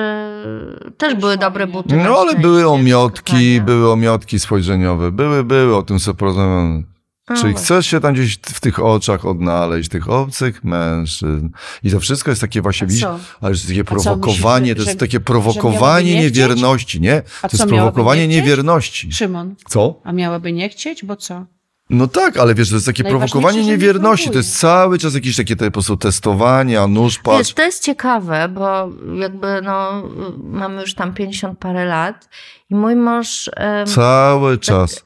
yy, też były fajnie. dobre buty. na No ale szczęście były do omiotki, skakania. były omiotki spojrzeniowe. Były, były, o tym co porozmawiamy. No Czyli właśnie. chcesz się tam gdzieś w tych oczach odnaleźć, tych obcych mężczyzn. I to wszystko jest takie właśnie, A widzisz, co? ale jest takie co, prowokowanie, myślisz, to jest że- takie miałaby prowokowanie nie chcieć? niewierności, nie? A To co, jest miałaby prowokowanie nie chcieć? niewierności. Szymon, Co? a miałaby nie chcieć, bo co? No tak, ale wiesz, to jest takie Najważniejsze, prowokowanie że nie niewierności, to prowokuje. jest cały czas jakieś takie te, po prostu testowania, nóż, Wiesz, patrz. to jest ciekawe, bo jakby no, y, mamy już tam 50 parę lat i mój mąż em, Cały czas.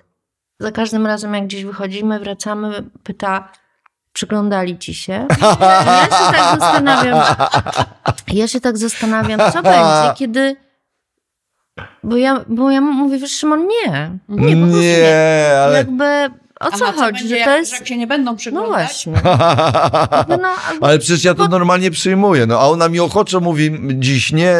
za każdym razem jak gdzieś wychodzimy, wracamy, pyta przyglądali ci się? Ja się tak zastanawiam, ja się tak zastanawiam, co będzie, kiedy... Bo ja, bo ja mówię, wiesz Szymon, nie. Nie, po prostu nie. Nie, ale... Jakby, o co A chodzi, będzie, że jak, to że jest... jak się nie będą No przyglądać? właśnie. Jakby No, albo- Ale przecież ja to normalnie przyjmuję, no a ona mi ochoczo mówi dziś nie,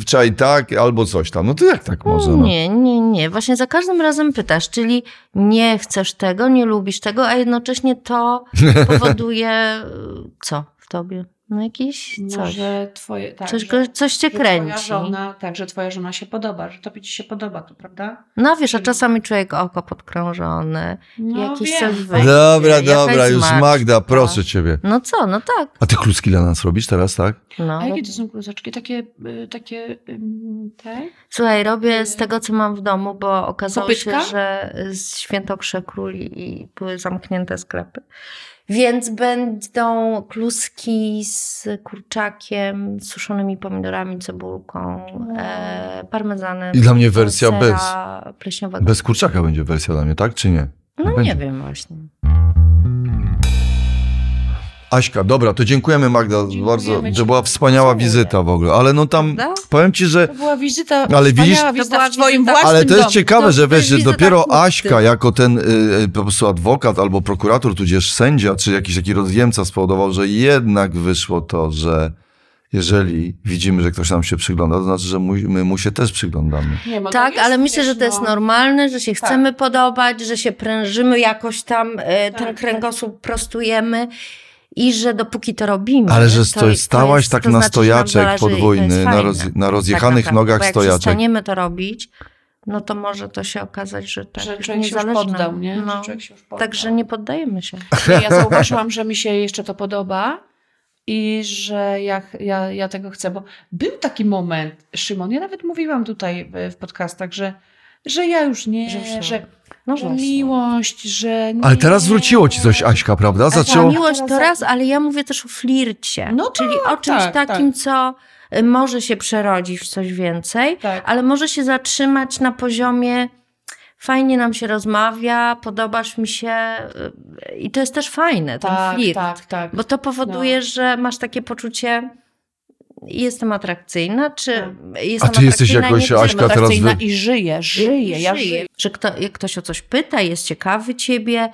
wczoraj tak, albo coś tam. No to jak tak może? No? Nie, nie, nie. Właśnie za każdym razem pytasz, czyli nie chcesz tego, nie lubisz tego, a jednocześnie to powoduje y, e, co w tobie? No jakieś coś. Może twoje, tak, coś, że- go, coś cię że twoja kręci. żona, tak, że twoja żona się podoba, że tobie ci się podoba, to prawda? No wiesz, a czasami człowiek oko podkrążone. No jakiś wiem. coś wyjdzie. Dobra, jakaś dobra, już zmarszczka. Magda, proszę ciebie. No co, no tak. A ty kluski dla nas robisz teraz, tak? No. A jakie to są kluzaczki? Takie, y, takie, ym, te? Słuchaj, robię z tego, co mam w domu, bo okazało Kopytka? się, że z świętokrze króli i były zamknięte sklepy. Więc będą kluski z kurczakiem, z suszonymi pomidorami, cebulką, e, parmezanem. I dla mnie wersja sera bez. Pleśniowego. Bez kurczaka będzie wersja dla mnie, tak czy nie? No Będzie. nie wiem właśnie. Aśka, dobra, to dziękujemy Magda Dziękujemy bardzo. ci. To była wspaniała Dziękuję. wizyta w ogóle, ale no tam Prawda? powiem ci, że To była wizyta, No, Ale widzisz- wspaniała wizyta była w twoim wizyta- własnym Ale to jest domu. ciekawe, To- że to wiesz, jest że wizyta dopiero kurty. Aśka jako ten y, y, po prostu adwokat albo prokurator, tudzież sędzia, czy jakiś taki rozjemca spowodował, że jednak wyszło to, że jeżeli widzimy, że ktoś nam się przygląda, to znaczy, że mu, my mu się też przyglądamy. Nie, no to Tak, jest, ale myślę, wiesz, że to jest no. normalne, że się chcemy podobać, że się prężymy jakoś tam, e, ten Tak. kręgosłup prostujemy i że dopóki to robimy. Ale że stoi, jest- stałaś jest- tak to na znaczy, że nam stojaczek zależy i to jest podwójny, na, fajne. roz, Tak na rozjechanych naprawdę, nogach bo jak stojaczek. przestaniemy to robić, no to może to się okazać, że tak Że już człowiek nie się już zależy poddał, nam. nie? Że No. człowiek się już poddał. Także nie poddajemy się. Ja zauważyłam, że mi się jeszcze to podoba i że ja, ja, ja tego chcę, bo był taki moment, Szymon, ja nawet mówiłam tutaj w- w podcastach, że, że ja już nie, Że już że, nie. że, No właśnie. miłość, że nie. Ale teraz wróciło ci coś, Aśka, prawda? Ale Zaczęło- Ta Zaczęło... miłość to raz, ale ja mówię też o flircie. No czyli o czymś tak, takim, co y, może się przerodzić w coś więcej, Tak. ale może się zatrzymać na poziomie fajnie nam się rozmawia, podobasz mi się y, i to jest też fajne, ten tak, flirt. tak, tak. Bo to powoduje, że masz takie poczucie jestem atrakcyjna, czy Tak. jestem A ty jesteś atrakcyjna, jakoś, nie jestem Aśka, teraz atrakcyjna wy... i żyje, żyje, ja żyję. Że kto, jak ktoś o coś pyta, jest ciekawy ciebie,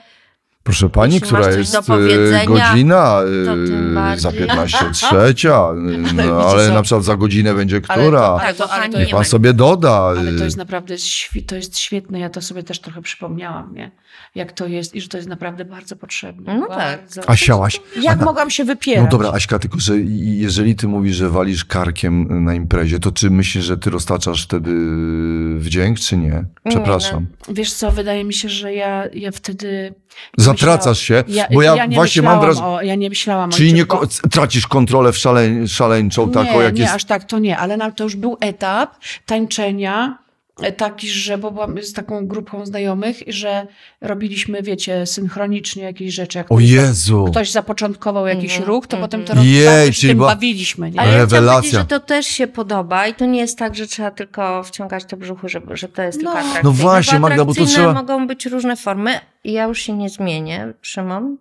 Proszę pani, Jeśli która masz coś jest do y, powiedzenia, godzina to tym y, za bardziej. 15 trzecia, y, no, ale co? na przykład za godzinę będzie która. Tak, to- bo pani to- nie Niech ma pan sobie doda. Ale to y, jest naprawdę świ- to jest świetne. Ja to sobie też trochę przypomniałam, nie? Jak to jest i że to jest naprawdę bardzo potrzebne. No tak. bardzo. A siałaś. Jak mogłam się wypierać? No dobra, Aśka, tylko że i- i jeżeli ty mówisz, że walisz karkiem na imprezie, to czy myślisz, że ty roztaczasz wtedy y, wdzięk, czy nie? Przepraszam. Wiesz co, wydaje mi się, że ja, ja wtedy... Zatracasz się, Ja, bo ja, nie właśnie mam myślałam wrażenie... O, ja nie myślałam o Czyli niczym, nie, bo- ko- tracisz kontrolę w szale, szaleńczą taką, nie, jak nie, jest... aż tak to nie, ale na, to już był etap tańczenia e, taki, że bo byłam z taką grupką znajomych, i że robiliśmy, wiecie, synchronicznie jakieś rzeczy. Jak O Jezu! ktoś zapoczątkował jakiś Mhm, ruch, to mhm. potem to Jej, robiliśmy, się czyli tym była- bawiliśmy. Nie? Ale ja chciałam powiedzieć, Rewelacja. że to też się podoba i to nie jest tak, że trzeba tylko wciągać te brzuchy, żeby, że to jest No. tylko atrakcyjne. No właśnie, bo Magda, bo to atrakcyjne trzeba- mogą być różne formy i ja już się nie zmienię, Szymon.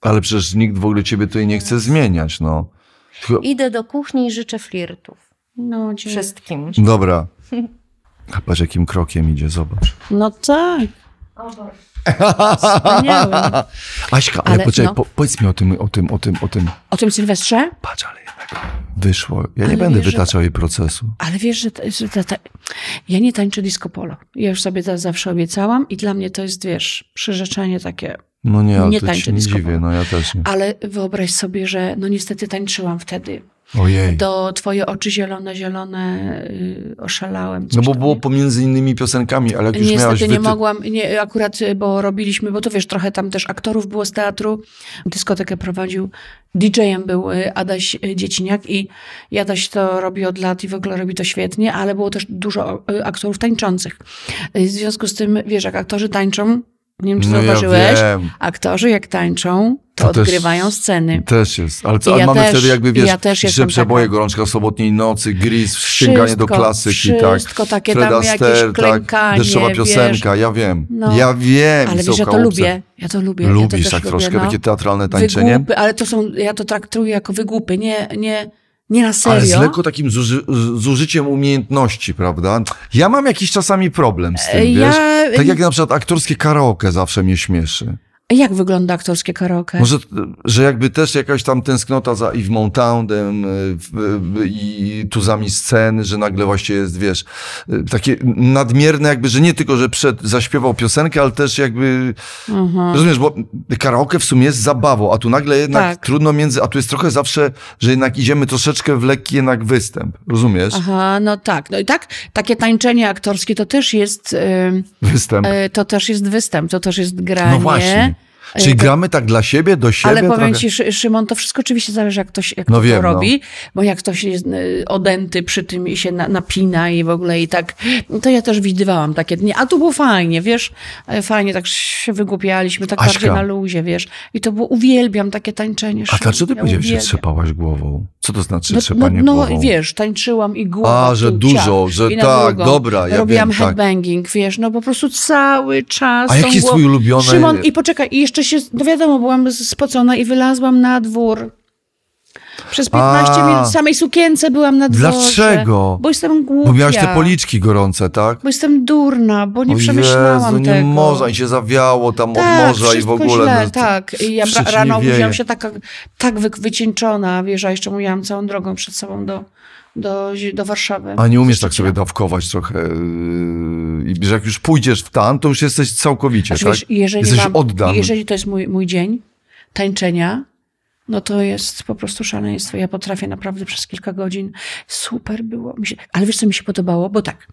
Ale przecież nikt w ogóle ciebie tutaj nie chce zmieniać, no. Tylko- Idę do kuchni i życzę flirtów. No, dzięki. Wszystkim. Dobra. A patrz, jakim krokiem idzie, zobacz. no tak. Wspaniałe. Aśka, ale, Ale poczekaj, no. po, powiedz mi o tym, o tym, o tym, o tym. O tym Sylwestrze? Patrz, ale jednak wyszło. Ja nie Ale będę wiesz, że- wytaczał jej procesu. Ale wiesz, że, ta, że ta, ta, ja nie tańczę disco polo. Ja już sobie to zawsze obiecałam i dla mnie to jest, wiesz, przyrzeczenie takie. No nie, ale Nie to tańczy się nie disco dziwię, polo. no ja też nie. Ale wyobraź sobie, że no niestety tańczyłam wtedy. Ojej. Do Twoje oczy zielone, zielone yy, oszalałem. No coś bo tam, było nie? pomiędzy innymi piosenkami, ale jak już miałaś Niestety nie wyty- mogłam, nie, akurat, y, bo robiliśmy, bo to wiesz, trochę tam też aktorów było z teatru. Dyskotekę prowadził, DJ-em był y, Adaś y, Dzieciniak i i Adaś to robi od lat i w ogóle robi to świetnie, ale było też dużo y, aktorów tańczących. Y, W związku z tym, wiesz, jak aktorzy tańczą, nie wiem, czy No ja zauważyłeś, wiem, aktorzy jak tańczą, to, To też- odgrywają sceny. też jest. Ale I co, ale ja mamy też- wtedy jakby, i wiesz, ja też że jestem przeboje, taka. gorączka sobotniej nocy, gris, sięganie do Wszystko, klasyki, tak. Wszystko takie Fred tam jakieś Astaire, tak, klękanie, deszczowa wiesz. piosenka, ja wiem. No. Ja wiem. Ale i wiesz, ja to Sołka Łupce. lubię. Ja to lubię. ja to Lubisz też tak lubię, troszkę no. takie teatralne tańczenie? Wygłupy, ale to są, ja to traktuję jako wygłupy, nie, nie, nie na serio. Ale z lekko takim zuży, z- zużyciem umiejętności, prawda? Ja mam jakiś czasami problem z tym, E, wiesz? ja- Tak jak na przykład aktorskie karaoke zawsze mnie śmieszy. A Jak wygląda aktorskie karaoke? Może, że jakby też jakaś tam tęsknota za Yves Montaundem y, w- y, i tuzami sceny, że nagle właśnie jest, wiesz, y, takie nadmierne jakby, że nie tylko, że przed, zaśpiewał piosenkę, ale też jakby, Mhm. rozumiesz, bo karaoke w sumie jest zabawą, a tu nagle jednak Tak. trudno między, a tu jest trochę zawsze, że jednak idziemy troszeczkę w lekki jednak występ, rozumiesz? Aha, no tak. No i tak, takie tańczenie aktorskie to też jest, y, Występ. y, to też jest występ, to też jest granie. No właśnie. Y, Czyli to- gramy tak dla siebie, do siebie Ale powiem trochę? ci, Szy- Szymon, to wszystko oczywiście zależy, jak ktoś jak No kto wiem, to no. robi, bo jak ktoś jest y, odęty przy tym i się na, napina i w ogóle i tak, to ja też widywałam takie dni, a tu było fajnie, wiesz, e, fajnie, tak się wygłupialiśmy, tak Aśka. bardziej na luzie, wiesz, i to było, uwielbiam takie tańczenie. A Szymon, dlaczego ty ja powiedziałeś, że uwielbiam. trzepałaś głową? Co to znaczy No, trzepanie no, no głową? wiesz, tańczyłam i głową. A, że tu, dużo, ciach, że i na tak, drugą. dobra, ja Robiłam wiem, tak. headbanging, wiesz, no po prostu cały czas. A tą jaki jest głową- twój ulubiony- Szymon, i poczekaj, i jeszcze się, no wiadomo, byłam z- spocona i wylazłam na dwór. Przez 15 A. minut w samej sukience byłam na dworze. Dlaczego? Bo jestem głupia. Bo miałaś te policzki gorące, tak? Bo jestem durna, bo nie O przemyślałam Jezu, tego. nie można i się zawiało tam Tak, od morza i w wszystko ogóle. Źle, no, tak. I ja przecież nie rano wieje. budziłam się taka, tak wy, wycieńczona, wiesz, a jeszcze mówiłam całą drogą przed sobą do, do, zi- do Warszawy. A nie umiesz tak sobie dawkować trochę. yy, I że jak już pójdziesz w tan, to już jesteś całkowicie, Znaczy, tak? wiesz, jeżeli jesteś mam, oddany. Jeżeli to jest mój, mój dzień tańczenia, no to jest po prostu szaleństwo. Ja potrafię naprawdę przez kilka godzin. Super było. Mi się, ale wiesz, co mi się podobało? Bo tak,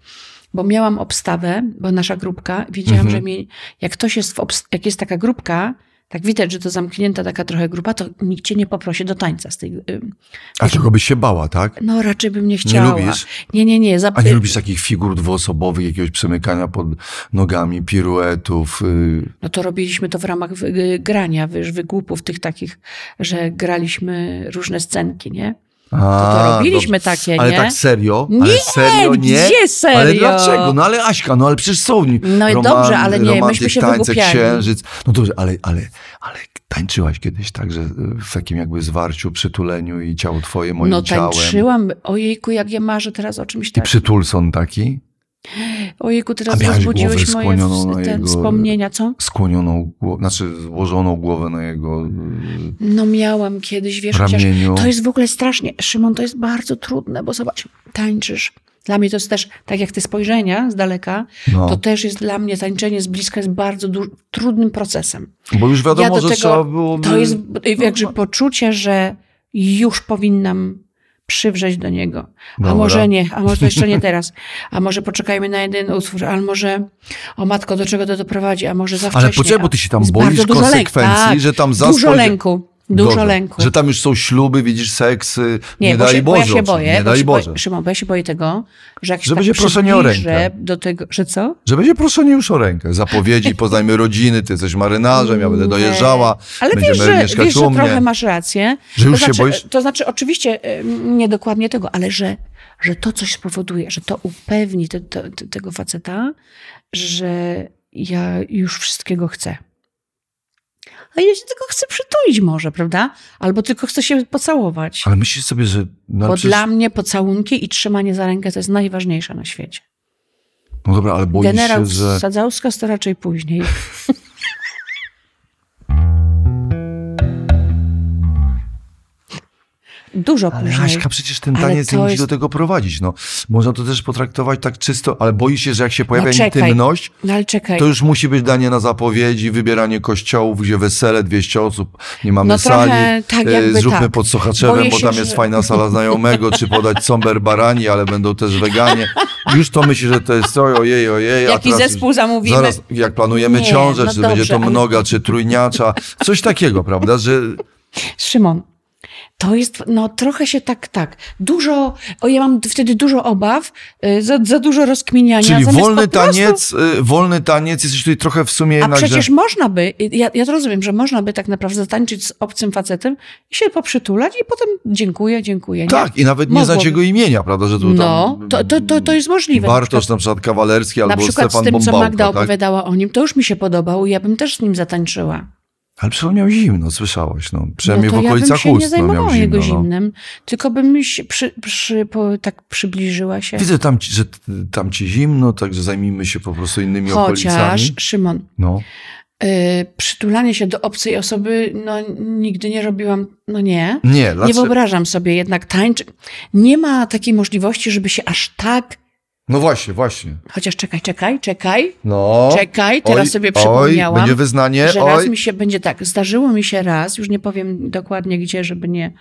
bo miałam obstawę, bo nasza grupka, wiedziałam, Mhm. że mi, jak ktoś jest w obst- jak jest taka grupka, tak widać, że to zamknięta taka trochę grupa, to nikt cię nie poprosi do tańca z tej... ym, A czego byś się bała, tak? No raczej bym nie chciała. lubisz? Nie, nie, nie. Za... A nie lubisz takich figur dwuosobowych, jakiegoś przemykania pod nogami, piruetów. Yy. No to robiliśmy to w ramach wy- y, grania, wiesz, wygłupów tych takich, że graliśmy różne scenki, nie? A, no, robiliśmy dobrze. takie, ale nie? tak serio? ale Nie, serio nie? gdzie serio? Ale dlaczego? No ale Aśka, no ale przecież są No i roman- dobrze, ale nie, myśmy romantyk, się tańce, wygłupiali. księżyc. No dobrze, ale, ale, ale tańczyłaś kiedyś tak, że w takim jakby zwarciu, przytuleniu i ciało twoje moim no ciałem. tańczyłam. Ojejku, jak ja marzę teraz o czymś I takim. przytulson taki, Ojejku, A teraz miałaś głowę rozbudziłeś moje skłonioną ws- na te jego- wspomnienia, co? skłonioną głowę, znaczy złożoną głowę na jego yy, No miałam kiedyś, wiesz, chociaż ramieniu. to jest w ogóle strasznie. Szymon, to jest bardzo trudne, bo zobacz, tańczysz. Dla mnie to jest też, tak jak te spojrzenia z daleka, No. to też jest dla mnie tańczenie z bliska jest bardzo du- trudnym procesem. Bo już Ja wiadomo, do że tego- trzeba było... No, To jest jakże poczucie, że już powinnam przywrzeć do niego. Dobra. A może nie, a może to jeszcze nie teraz. A może poczekajmy na jeden utwór, a może o matko, do czego to doprowadzi, a może za wcześnie. Ale poczekaj, bo ty się tam Jest boisz bardzo dużo lęk- konsekwencji, tak, że tam zaspoj- Dużo lęku, dużo Dobrze. lęku. Że tam już są śluby, widzisz seksy, nie, bo, daj się, Boże. bo ja się oczywiście, boję, nie bo daj się Boże. Boję, Szymon, bo ja się boję tego, że jak się Że tak będzie proszenie o przybliżę rękę. do tego, że co? Że będzie proszenie już o rękę. Zapowiedzi, poznajmy rodziny, ty jesteś marynarzem, ja będę dojeżdżała, Ale będziemy wiesz, że, mieszkać wiesz, że u mnie. trochę masz rację. Że już się to znaczy, boisz? To znaczy, oczywiście y, nie dokładnie tego, ale że, że to coś spowoduje, że to upewni te, te, te, tego faceta, że ja już wszystkiego chcę. A ja się tylko chcę przytulić może, prawda? Albo tylko chcę się pocałować. Ale myślisz sobie, że... No, ale Bo przecież- dla mnie pocałunki i trzymanie za rękę to jest najważniejsze na świecie. no dobra, ale boisz Generał się, że... Sadzałska to raczej później. Dużo Ale później. Aśka, przecież ten Ale taniec to nie musi jest- do tego prowadzić. No, można to też potraktować tak czysto, ale boisz się, że jak się pojawia No czekaj. intymność, No ale czekaj. to już musi być danie na zapowiedzi, wybieranie kościołów, gdzie wesele, 200 osób, nie mamy No trochę sali, tak e, jakby zróbmy tak. pod Sochaczewem, Boję bo się, tam jest że- fajna sala znajomego, czy podać somber barani, ale będą też weganie. Już to myśli, że to jest oj, ojej, ojej. a Jaki teraz już- zespół zamówimy? Zaraz, jak planujemy Nie, ciążę, no czy będzie dobrze, to ale- mnoga, czy trójniacza, coś takiego, prawda, że Szymon, to jest, no trochę się tak, tak. Dużo, o ja mam wtedy dużo obaw, y, za, za dużo rozkminiania. Czyli zamiast wolny po prostu- taniec, y, wolny taniec, jesteś tutaj trochę w sumie A jednak, że- przecież można by, y, ja, ja to rozumiem, że można by tak naprawdę zatańczyć z obcym facetem i się poprzytulać i potem dziękuję, dziękuję. nie? Tak, i nawet nie Mogłoby. znać jego imienia, prawda, że tu No, tam... to, to, to, to jest możliwe. Na Bartosz na przykład Kawalerski Na albo przykład Stefan z tym, co Bombałka, Magda tak? opowiadała o nim, to już mi się podobało i ja bym też z nim zatańczyła. Ale przecież miał zimno, słyszałaś, no. No Przynajmniej to w ja bym okolicach się nie ust no, miał zajmowała jego zimno. no. zimnem, tylko bym się przy, przy, po, tak przybliżyła się. Widzę, tam ci, że t- tam ci zimno, także zajmijmy się po prostu innymi Chociaż, okolicami. Szymon, No. y, przytulanie się do obcej osoby, no nigdy nie robiłam, no nie. Nie, Nie Mm, dlaczego? wyobrażam sobie jednak tańczy. Nie ma takiej możliwości, żeby się aż tak. No właśnie, właśnie. Chociaż czekaj, czekaj, czekaj, No. czekaj, teraz Oj, sobie Oj, przypomniałam. będzie wyznanie. że raz Oj. mi się będzie tak, zdarzyło mi się raz, już nie powiem dokładnie gdzie, żeby nie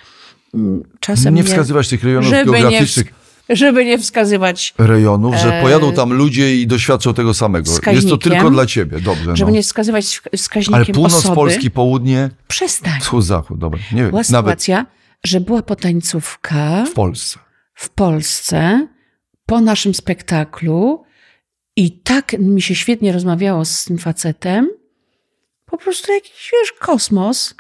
mm, czasem Nie wskazywać tych rejonów żeby nie, geograficznych. wsk- żeby nie wskazywać, rejonów, że E, pojadą tam ludzie i doświadczą tego samego. Jest to wskaźnikiem. tylko dla ciebie, dobrze. żeby no. nie wskazywać wsk- wskaźnikiem Ale północ osoby. Polski, południe, Przestań. wschód, zachód, dobra. Nie wiem, Była nawet sytuacja, że była potańcówka w Polsce. w Polsce po naszym spektaklu i tak mi się świetnie rozmawiało z tym facetem. Po prostu jakiś, wiesz, kosmos.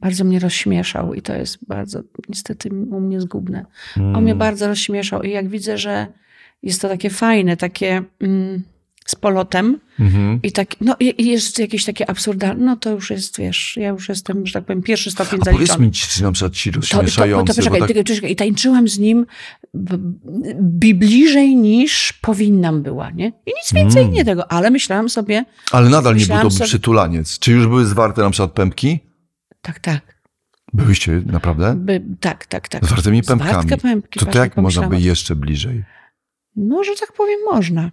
Bardzo mnie rozśmieszał i to jest bardzo niestety u mnie zgubne. On Hmm. mnie bardzo rozśmieszał i jak widzę, że jest to takie fajne, takie mm, z polotem Mhm. i tak, no i i jest jakieś takie absurdalne, no to już jest, wiesz, ja już jestem, że tak powiem, pierwszy stopień A powiedz zaliczony. mi, czy czy na przykład ci To, to, to rozśmieszający, poczekaj, bo tak... tylko czekaj, i tańczyłam z nim b- b- bliżej niż powinnam była, nie? I nic więcej Mm. nie tego, ale myślałam sobie, ale nadal nie był myślałam to sobie- przytulaniec. Czy już były zwarte na przykład pępki? tak, tak, Byłyście, naprawdę? by, tak, tak, tak. Z wartymi pępkami. Zwartkę pępki, To, to właśnie jak można pomyślałam by o tym. jeszcze bliżej? No, że tak powiem, można.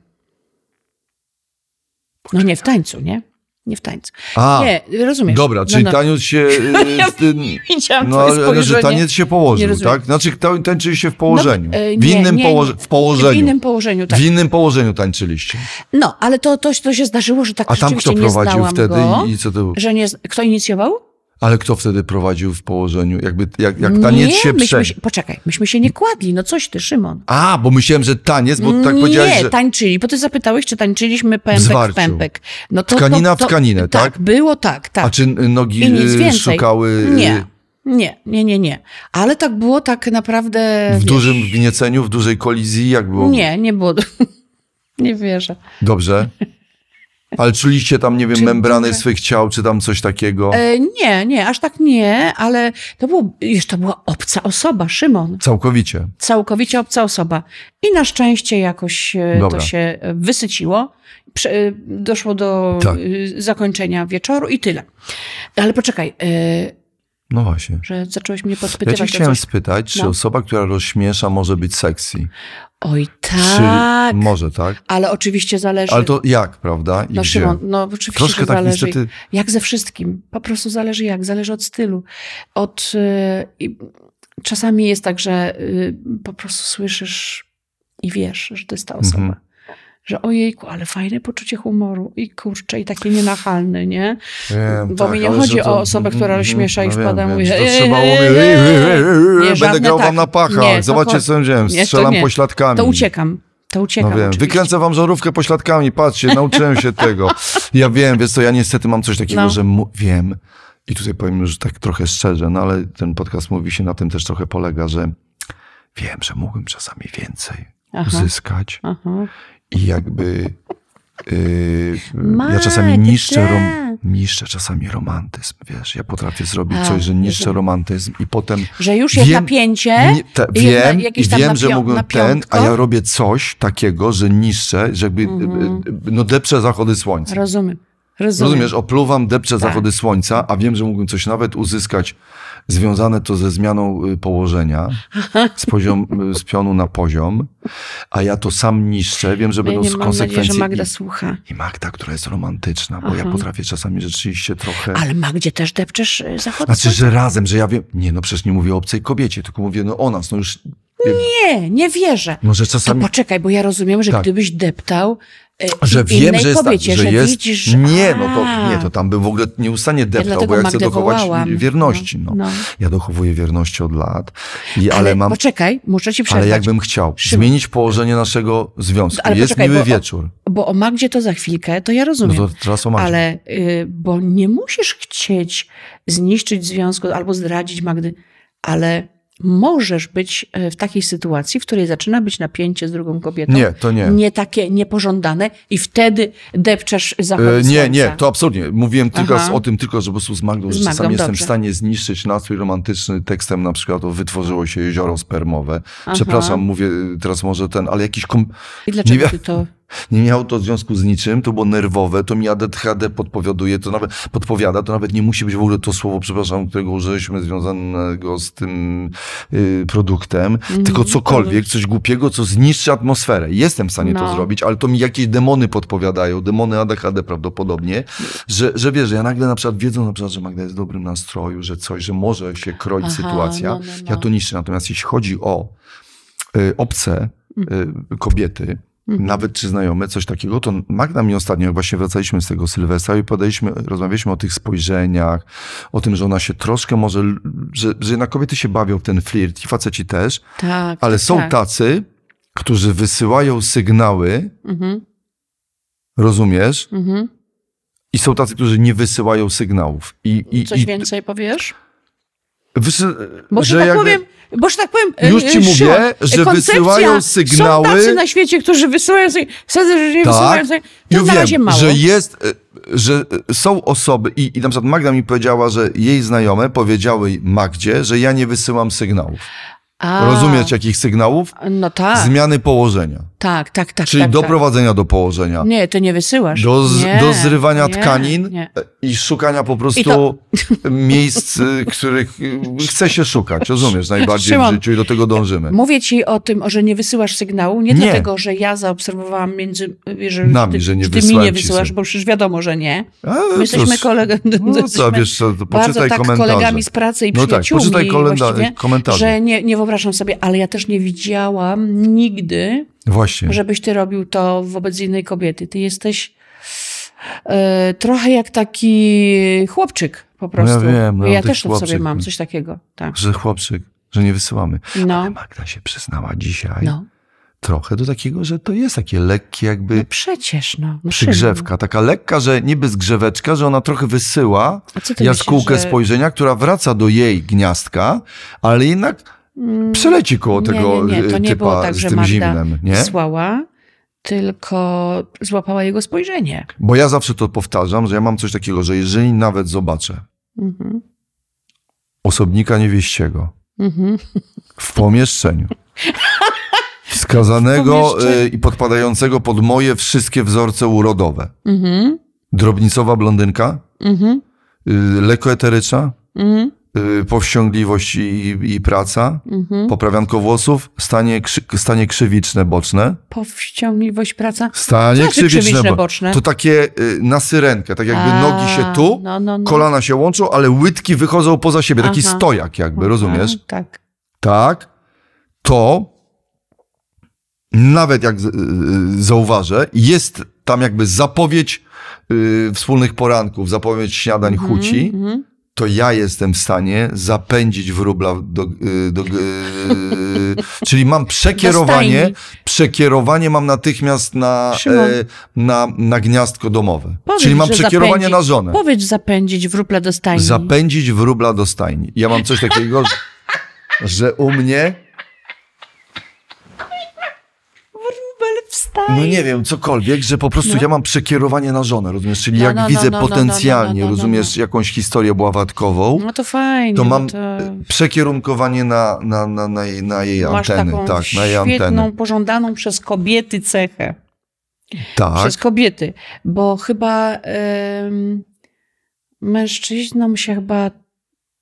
No nie w tańcu, nie? Nie w tańcu. A, nie, rozumiesz. dobra, czyli no, no. taniec się... y, Ja z tym- Widziałam No, twoje ale, ale że spojrzenie. taniec się położył, rozumiem. tak? Znaczy ta- tańczyli się w położeniu. No, e, w nie, innym nie, położe- nie. W położeniu. W innym położeniu, tak. W innym położeniu tańczyliście. No, ale to, to, to się zdarzyło, że tak A tam rzeczywiście kto nie prowadził znałam wtedy go, i, i co to było? że nie, z- kto inicjował? Ale kto wtedy prowadził w położeniu? Jakby, jak, jak taniec nie, się myśmy się, przeniósł. poczekaj, myśmy się nie kładli, no coś ty, Szymon. A, bo myślałem, że taniec, bo tak powiedziałeś, nie, że... tańczyli, bo ty zapytałeś, czy tańczyliśmy pępek Zwarciu. w pępek. No to, Tkanina to, w to, tkaninę, tak? było tak, tak. A czy nogi I nic y, więcej. szukały y, Nie, nie, nie, nie, nie. Ale tak było tak naprawdę... w wiesz, dużym wgnieceniu, w dużej kolizji? Jak było? Nie, nie było... nie wierzę. Dobrze. Ale czuliście tam, nie wiem, Czy- membrany czy- swych ciał, czy tam coś takiego? E, nie, nie, aż tak nie, ale to było... Wiesz, to była obca osoba, Szymon. Całkowicie. całkowicie obca osoba. I na szczęście jakoś e, Dobra. to się e, wysyciło. Prze- e, Doszło do Tak. e, zakończenia wieczoru i tyle. Ale poczekaj, e, No właśnie. że zacząłeś mnie Ja podpytywać cię o chciałem coś. spytać, czy No. osoba, która rozśmiesza, może być sexy? Oj Czy tak, może, tak? ale oczywiście zależy. Ale to jak, prawda? I no gdzie? Szymon, no oczywiście, Troszkę że tak zależy. niestety... Jak ze wszystkim. Po prostu zależy jak, zależy od stylu. Od, e, i czasami jest tak, że y, po prostu słyszysz i wiesz, że to jest ta osoba. Mhm. Że ojejku, ale fajne poczucie humoru i kurczę, i taki nienachalny, nie? Wiem, tak, Bo mi nie ale chodzi że to- o osobę, która Mhm, rozśmiesza i no wiem, wpada, wiem, mówi, że To "Ej, trzeba ej, mówić, ej, "Ej, ej, ej, ej, nie, będę żadne grał wam tak. na pachach, Nie, to zobaczcie chodzi- co wziąłem, nie, to No, strzelam nie. pośladkami. To uciekam. To uciekam. No wiem, oczywiście. wykręcę wam żarówkę pośladkami, patrzcie, nauczyłem się tego. Ja wiem, wiesz co, ja niestety mam coś takiego, No. że mu- wiem i tutaj powiem już tak trochę szczerze, no ale ten podcast mówi się na tym też trochę polega, że wiem, że mógłbym czasami więcej Aha, uzyskać aha. i jakby yy, ja Marek, czasami niszczę, rom- tak. niszczę czasami romantyzm, wiesz, ja potrafię zrobić A, coś, że niszczę rozumiem. romantyzm i potem Że już jest Wiem- napięcie. nie, te, I jedna- wiem i jakieś tam wiem, na że pią- mógłbym na ten, a piątko? ja robię coś takiego, że niszczę, że jakby Mhm. y, y, no depczę zachody słońca. Rozumiem. Rozumiem. Rozumiesz, opluwam, depczę Tak. zachody słońca, a wiem, że mógłbym coś nawet uzyskać związane to ze zmianą y, położenia z, poziom, y, z pionu na poziom, a ja to sam niszczę, wiem, że Ja będą nie mam konsekwencje. nadzieję, że Magda I- słucha. i Magda, która jest romantyczna, bo ja Aha. potrafię czasami rzeczywiście trochę. Ale Magdzie też depczesz y, zachodnią? Znaczy, że razem, że ja wiem. Nie, no przecież nie mówię o obcej kobiecie, tylko mówię no o nas. No już. Nie, nie wierzę. Może To czasami. poczekaj, bo ja rozumiem, że Tak. gdybyś deptał y, Że wiem, innej że jest kobiecie, tak, że, jest. widzisz, że... Nie, no to A, nie, to tam bym w ogóle nieustannie deptał, dlatego bo ja chcę Magdę dochować wołałam. wierności. No. No, no. Ja dochowuję wierności od lat, i, ale, Ale, mam. Poczekaj, muszę ci przerwać, Ale jakbym chciał Szymon. zmienić położenie naszego związku. Ale jest poczekaj, miły bo- wieczór. bo o Magdzie to za chwilkę, to ja No rozumiem. to teraz o Magdzie. Ale, y, bo nie musisz chcieć zniszczyć związku albo zdradzić Magdy, ale możesz być y, w takiej sytuacji, w której zaczyna być napięcie z drugą kobietą. Nie, to nie. Nie takie niepożądane i wtedy depczesz zachód E, słońca. Nie, nie, to absolutnie. Mówiłem tylko Aha. z- o tym tylko, że po prostu z Magdą, Z że Magdą, czasami jestem w dobrze. stanie zniszczyć nastrój romantyczny tekstem na przykład o wytworzyło się jezioro spermowe. Przepraszam, mówię y, teraz może ten, ale jakiś... Kom... I dlaczego nie wiem. ty to... Nie miało to związku z niczym, to było nerwowe, to mi ADHD podpowiaduje, to nawet podpowiada, to nawet nie musi być w ogóle to słowo, przepraszam, którego użyliśmy związanego z tym y, produktem, tylko cokolwiek, coś głupiego, co zniszczy atmosferę. Jestem w stanie to No. zrobić, ale to mi jakieś demony podpowiadają, demony ADHD prawdopodobnie, że, że wiesz, że ja nagle na przykład wiedzą na przykład, że Magda jest w dobrym nastroju, że coś, że może się kroić Aha, sytuacja, no, no, no. ja to niszczę. Natomiast jeśli chodzi o y, obce y, kobiety, Mhm. nawet czy znajome, coś takiego, to Magda mi ostatnio, jak właśnie wracaliśmy z tego Sylwestra i podaliśmy, rozmawialiśmy o tych spojrzeniach, o tym, że ona się troszkę może, l- że, że jednak kobiety się bawią w ten flirt i faceci też, Tak. ale tak, są tak. tacy, którzy wysyłają sygnały, Mhm, rozumiesz? mhm. I są tacy, którzy nie wysyłają sygnałów. I, i, No Coś i, więcej powiesz? wysy- Bo że, że tak jakby- powiem, bo że tak powiem. e, Już ci e, mówię, Szymon, że koncepcja- wysyłają Są sygnały- tacy na świecie, którzy wysyłają sygnały. Wsadzę, że nie Tak. wysyłają sygnały. To Ja na razie mało. że jest, y, że y, są osoby i, i na przykład Magda mi powiedziała, że jej znajome powiedziały Magdzie, że ja nie wysyłam sygnałów. A, Rozumiesz jakich sygnałów? No tak, Zmiany położenia, tak, tak, tak. czyli tak, doprowadzenia do położenia, tak. Nie, ty nie wysyłasz. do, z, nie, do zrywania nie, tkanin Nie. y, i szukania po prostu I to- miejsc, y, których y, chce się szukać, rozumiesz, najbardziej w Szymon, życiu i do tego dążymy. Mówię ci o tym, o, że nie wysyłasz sygnału, nie, Nie. dlatego, że ja zaobserwowałam między... y, Że Nami, ty, że nie Ty mi wysłałem nie ci wysyłasz, sygnału. bo przecież wiadomo, że nie. A, My jesteśmy cóż, kolega... no co, wiesz, co, to bardzo poczytaj tak komentarze. kolegami z pracy i No tak, przyjaciółmi poczytaj kolenda- właściwie, komentarze. że nie, nie wyobrażam sobie, ale ja też nie widziałam nigdy, Właśnie. żebyś ty robił to wobec innej kobiety. Ty jesteś e, trochę jak taki chłopczyk po prostu. wiem, no, ja taki też to w sobie chłopczyk. mam, coś takiego. Tak. Że chłopczyk, że nie wysyłamy. No, Ale Magda się przyznała dzisiaj no. trochę do takiego, że to jest takie lekkie jakby no przecież, no. no przygrzewka. Taka lekka, że niby zgrzeweczka, że ona trochę wysyła A co ty jaskółkę myślisz, że- spojrzenia, która wraca do jej gniazdka, ale jednak mm, przeleci koło Nie, tego nie, nie, to y, nie typa było tak, z że tym Magda zimnem. Nie? Wysłała, tylko złapała jego spojrzenie. Bo ja zawsze to powtarzam, że ja mam coś takiego, że jeżeli nawet zobaczę Mhm. osobnika niewieściego Mhm. w pomieszczeniu wskazanego W pomieszczeniu. y, i podpadającego pod moje wszystkie wzorce urodowe, Mhm. drobnicowa blondynka, Mhm. y, lekko eteryczna, Mhm. y, powściągliwość i, i praca, Mhm. poprawianko włosów, stanie, krzy, stanie krzywiczne boczne. Powściągliwość praca. Stanie znaczy krzywiczne bo- boczne? To takie y, na syrenkę, tak jakby A, nogi się tu, no, no, no. kolana się łączą, ale łydki wychodzą poza siebie, taki Aha. stojak jakby, rozumiesz? A, tak. Tak, to nawet jak z- y, y, zauważę, jest tam jakby zapowiedź y, wspólnych poranków, zapowiedź śniadań huci, Mhm. to ja jestem w stanie zapędzić wróbla do. y, do y, czyli mam przekierowanie, stajni. przekierowanie mam natychmiast na, Szymon. e, na, na gniazdko domowe. Powiedz, czyli mam że przekierowanie zapędzić. na żonę. Powiedz zapędzić wróble do stajni. Zapędzić wróbla do stajni. Ja mam coś takiego, że, że u mnie. Wróbel wstań. No nie wiem, cokolwiek, że po prostu ja mam przekierowanie na żonę, rozumiesz? Czyli No, jak no, no, widzę no, no, no, potencjalnie, no, no, no, no. rozumiesz, jakąś historię bławatkową, No to fajnie. to no mam to... e, przekierunkowanie na, na, na, na, jej- na jej Masz anteny. taką Tak, na jej świetną, anteny. pożądaną przez kobiety cechę. Tak. Przez kobiety. Bo chyba em, mężczyznom się chyba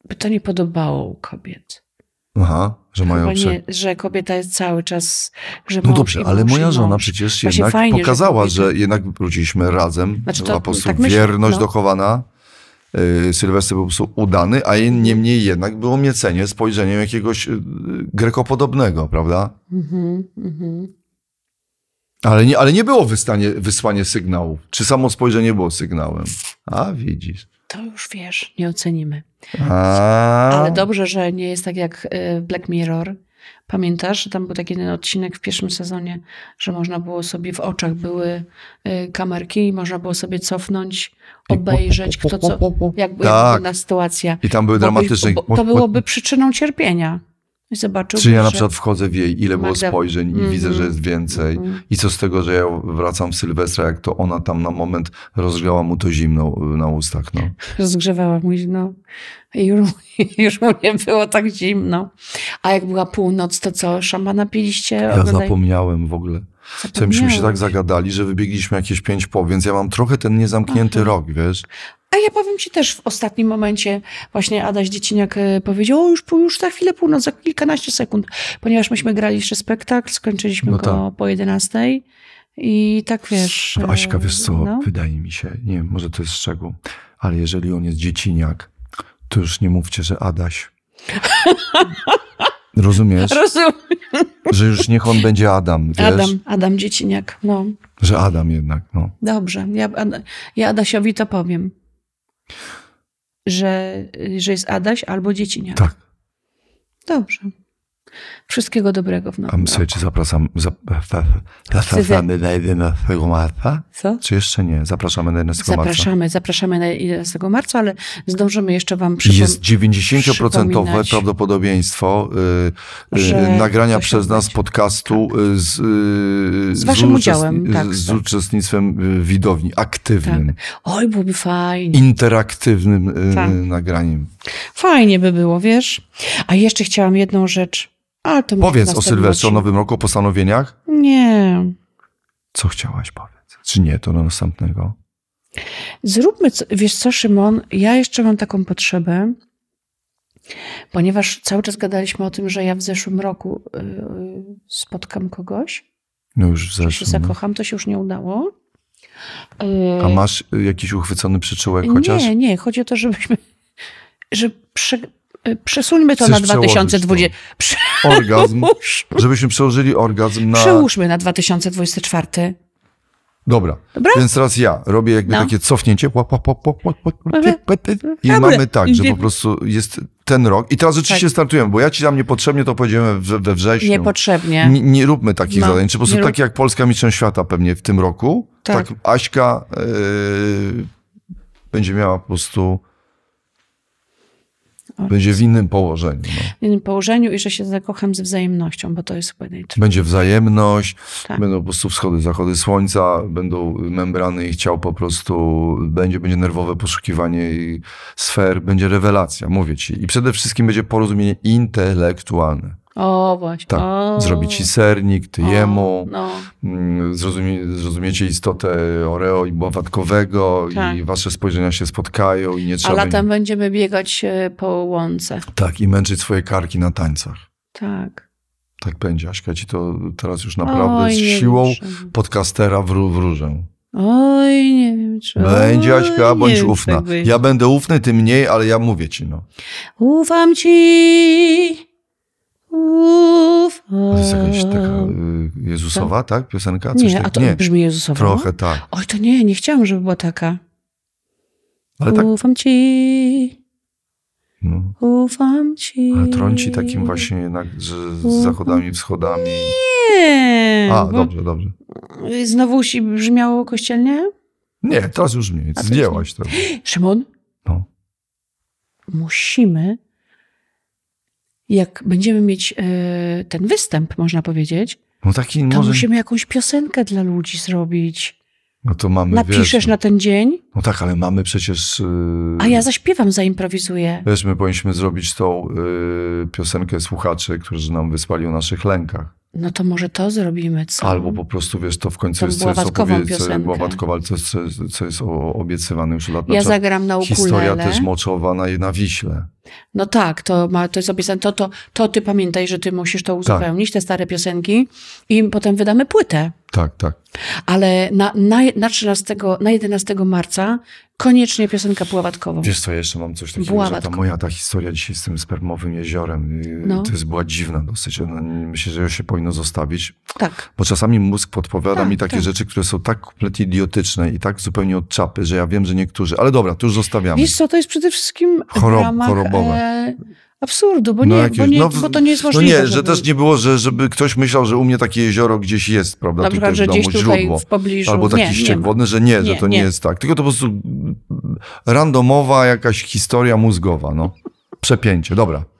by to nie podobało u kobiet. Aha, że mają Chyba prze... nie, że kobieta jest cały czas, że No mąż dobrze, i ale mąż i moja żona mąż. przecież Właśnie jednak fajnie, że pokazała, że, kobiety- jednak wróciliśmy razem. Znaczy to- była po prostu tak myślę, wierność no. dochowana. Yy, Sylwester był po prostu udany, a jej- niemniej jednak było miecenie spojrzeniem jakiegoś yy, grekopodobnego, prawda? Mhm, mhm. Ale nie, ale nie było wystanie, wysłanie sygnałów. Czy samo spojrzenie było sygnałem? A widzisz. To już wiesz, nie ocenimy. A... Ale dobrze, że nie jest tak jak y, w Black Mirror. Pamiętasz, że tam był taki jeden odcinek w pierwszym sezonie, że można było sobie w oczach były y, kamerki i można było sobie cofnąć, obejrzeć, kto co, jak, jak Tak. wygląda sytuacja. I tam były Bo by- dramatyczne. bo To byłoby przyczyną cierpienia. I zobaczył, Czy ja na że- przykład wchodzę w jej, ile było Magda- spojrzeń i Mhm. widzę, że jest więcej. Mhm. I co z tego, że ja wracam w Sylwestra, jak to ona tam na moment rozgrzała mu to zimno y, na ustach. No. Rozgrzewała mu zimno. I już, już mu nie było tak zimno. A jak była północ, to co? Szambana piliście? Ja zapomniałem w ogóle. Co myśmy się tak Zapomniałeś. zagadali, że wybiegliśmy jakieś pięć po, więc ja mam trochę ten niezamknięty rok, wiesz? A ja powiem ci też w ostatnim momencie właśnie Adaś Dzieciniak e, powiedział, o już, pół- już za chwilę północ, za kilkanaście sekund, ponieważ myśmy grali jeszcze spektakl, skończyliśmy No go po 11 i tak wiesz... e, Aśka, wiesz co, no. wydaje mi się, nie wiem, może to jest szczegół, ale jeżeli on jest dzieciniak, to już nie mówcie, że Adaś. Rozumiesz? Rozumiem. Że już niech on będzie Adam, wiesz? Adam, Adam Dzieciniak, no Że Adam jednak, no. dobrze, ja, Ada- ja Adasiowi to powiem, że, że jest Adaś albo Dzieciniak. Tak. Dobrze. Wszystkiego dobrego w A nowym my sobie roku. czy zapraszam, zap, zapraszamy na 11 marca? Co? Czy jeszcze nie? Zapraszamy na 11 marca. Zapraszamy, zapraszamy na 11 marca, ale zdążymy jeszcze wam przypomnieć. Jest 90% przypominać. prawdopodobieństwo y, y, Że nagrania coś przez tam nas będzie. podcastu y, z, y, Z uczestni- waszym udziałem, tak, z tak. uczestnictwem y, widowni, aktywnym, Oj, byłoby fajnie. interaktywnym y, Tak. nagraniem. Fajnie by było, wiesz? A jeszcze chciałam jedną rzecz. Ale to może w Powiedz o następnym Sylwestrze, o odcinku. Nowym Roku, o postanowieniach. Nie. Co chciałaś powiedz? Czy nie, to do następnego? Zróbmy, co, wiesz co, Szymon, ja jeszcze mam taką potrzebę, ponieważ cały czas gadaliśmy o tym, że ja w zeszłym roku yy, spotkam kogoś, No już w że się zeszłym. no. zakocham, to się już nie udało. Yy, A masz y, jakiś uchwycony przyczółek chociaż? Nie, nie, chodzi o to, żebyśmy, że prze, yy, przesuńmy to Chcesz no. na 2020. Prze, Orgazm. Przełóż- Żebyśmy przełożyli orgazm na... Przełóżmy na 2024. Dobra. Dobra? Więc teraz ja robię jakby No. takie cofnięcie. łap, łap, łap, łap, łap, łap, I Dobra. mamy tak, że Idzie- po prostu jest ten rok. I teraz rzeczywiście Tak. startujemy, bo ja ci tam niepotrzebnie to powiedziałem we, we wrześniu. Niepotrzebnie. Nie, nie róbmy takich No, zadań. Czy po prostu nie rób- tak jak Polska Mistrzostw Świata pewnie w tym roku, tak, Tak. Aśka yy, będzie miała po prostu... Będzie w innym położeniu. No. w innym położeniu i że się zakocham z wzajemnością, bo to jest chyba najtrudniejsze. Będzie wzajemność, Tak. będą po prostu wschody, zachody słońca, będą membrany i ciał po prostu, będzie, będzie nerwowe poszukiwanie i sfer, będzie rewelacja, mówię ci. I przede wszystkim będzie porozumienie intelektualne. O, właśnie. Tak, o, zrobi ci sernik, ty o, jemu, No, mm, zrozumie, zrozumiecie istotę oreo i bławatkowego i Tak. wasze spojrzenia się spotkają i nie a trzeba latem będzie, będziemy biegać e, po łące. Tak, i męczyć swoje karki na tańcach. Tak. Tak będzie, Aśka, ci to teraz już naprawdę Oj, z nie wiem, siłą Szymon. podcastera w, ró- w różę. Oj, nie wiem, czy... Będzie oj, Aśka, nie bądź wiem, czy ufna. tak będzie. ja będę ufny, ty mniej, ale ja mówię ci, no. Ufam ci, ufam. To jest jakaś taka y, Jezusowa, tak? Piosenka? Coś Eee, Nie, tak? a to nie, brzmi Jezusowo? trochę tak. Oj, to nie, nie chciałam, żeby była taka. Ale tak, Ufam ci, no. ufam ci. Ale trąci takim właśnie jednak, że z zachodami, wschodami. Nie. A, bo- dobrze, dobrze. Znowu si brzmiało kościelnie? Nie, teraz już mniej, to zdjęłaś to. Szymon? No. Musimy, jak będziemy mieć e, ten występ, można powiedzieć, No taki to może, musimy jakąś piosenkę dla ludzi zrobić. no to mamy, Napiszesz wiesz, no, na ten dzień, no tak, ale mamy przecież... y, a ja zaśpiewam, zaimprowizuję. Wiesz, my powinniśmy zrobić tą y, piosenkę słuchaczy, którzy nam wysłali o naszych lękach. No to może to zrobimy, co? Albo po prostu, wiesz, to w końcu Tą jest, co jest, bławatkową opowie- co- piosenkę. bławatkowa, ale co, jest- co, jest- co jest o- obiecywane już od lat. Na Ja przykład zagram na no Historia ukulele. też moczowa na, na Wiśle. No tak, to, ma, to jest obiecane. To, to, to ty pamiętaj, że ty musisz Tak. to uzupełnić, te stare piosenki i potem wydamy płytę. Tak, tak. Ale na, na, na, 13, na 11 marca koniecznie piosenkę pławatkową. Wiesz co, ja jeszcze mam coś takiego, że ta Bławatko. moja ta historia dzisiaj z tym spermowym jeziorem, y, No. to jest była dziwna dosyć. Ona- Myślę, że ją się powinno zostawić. Tak. Bo czasami mózg podpowiada Tak, mi takie tak. rzeczy, które są tak kompletnie idiotyczne i tak zupełnie od czapy, że ja wiem, że niektórzy... Ale dobra, to już zostawiamy. Wiesz co, to jest przede wszystkim Chorob- w ramach chorobowe. E, absurdu, bo, No nie, jakieś- bo, nie, no w- bo to nie jest No możliwe. nie, że żeby- też nie było, że, żeby ktoś myślał, że u mnie takie jezioro gdzieś jest, prawda? na przykład, tutaj że w domu, gdzieś tutaj źródło. w pobliżu. Albo taki nie, ściek nie ma. wodny, że nie, że Nie, to nie, nie. jest tak. Tylko to po prostu randomowa jakaś historia mózgowa, no. Przepięcie, dobra.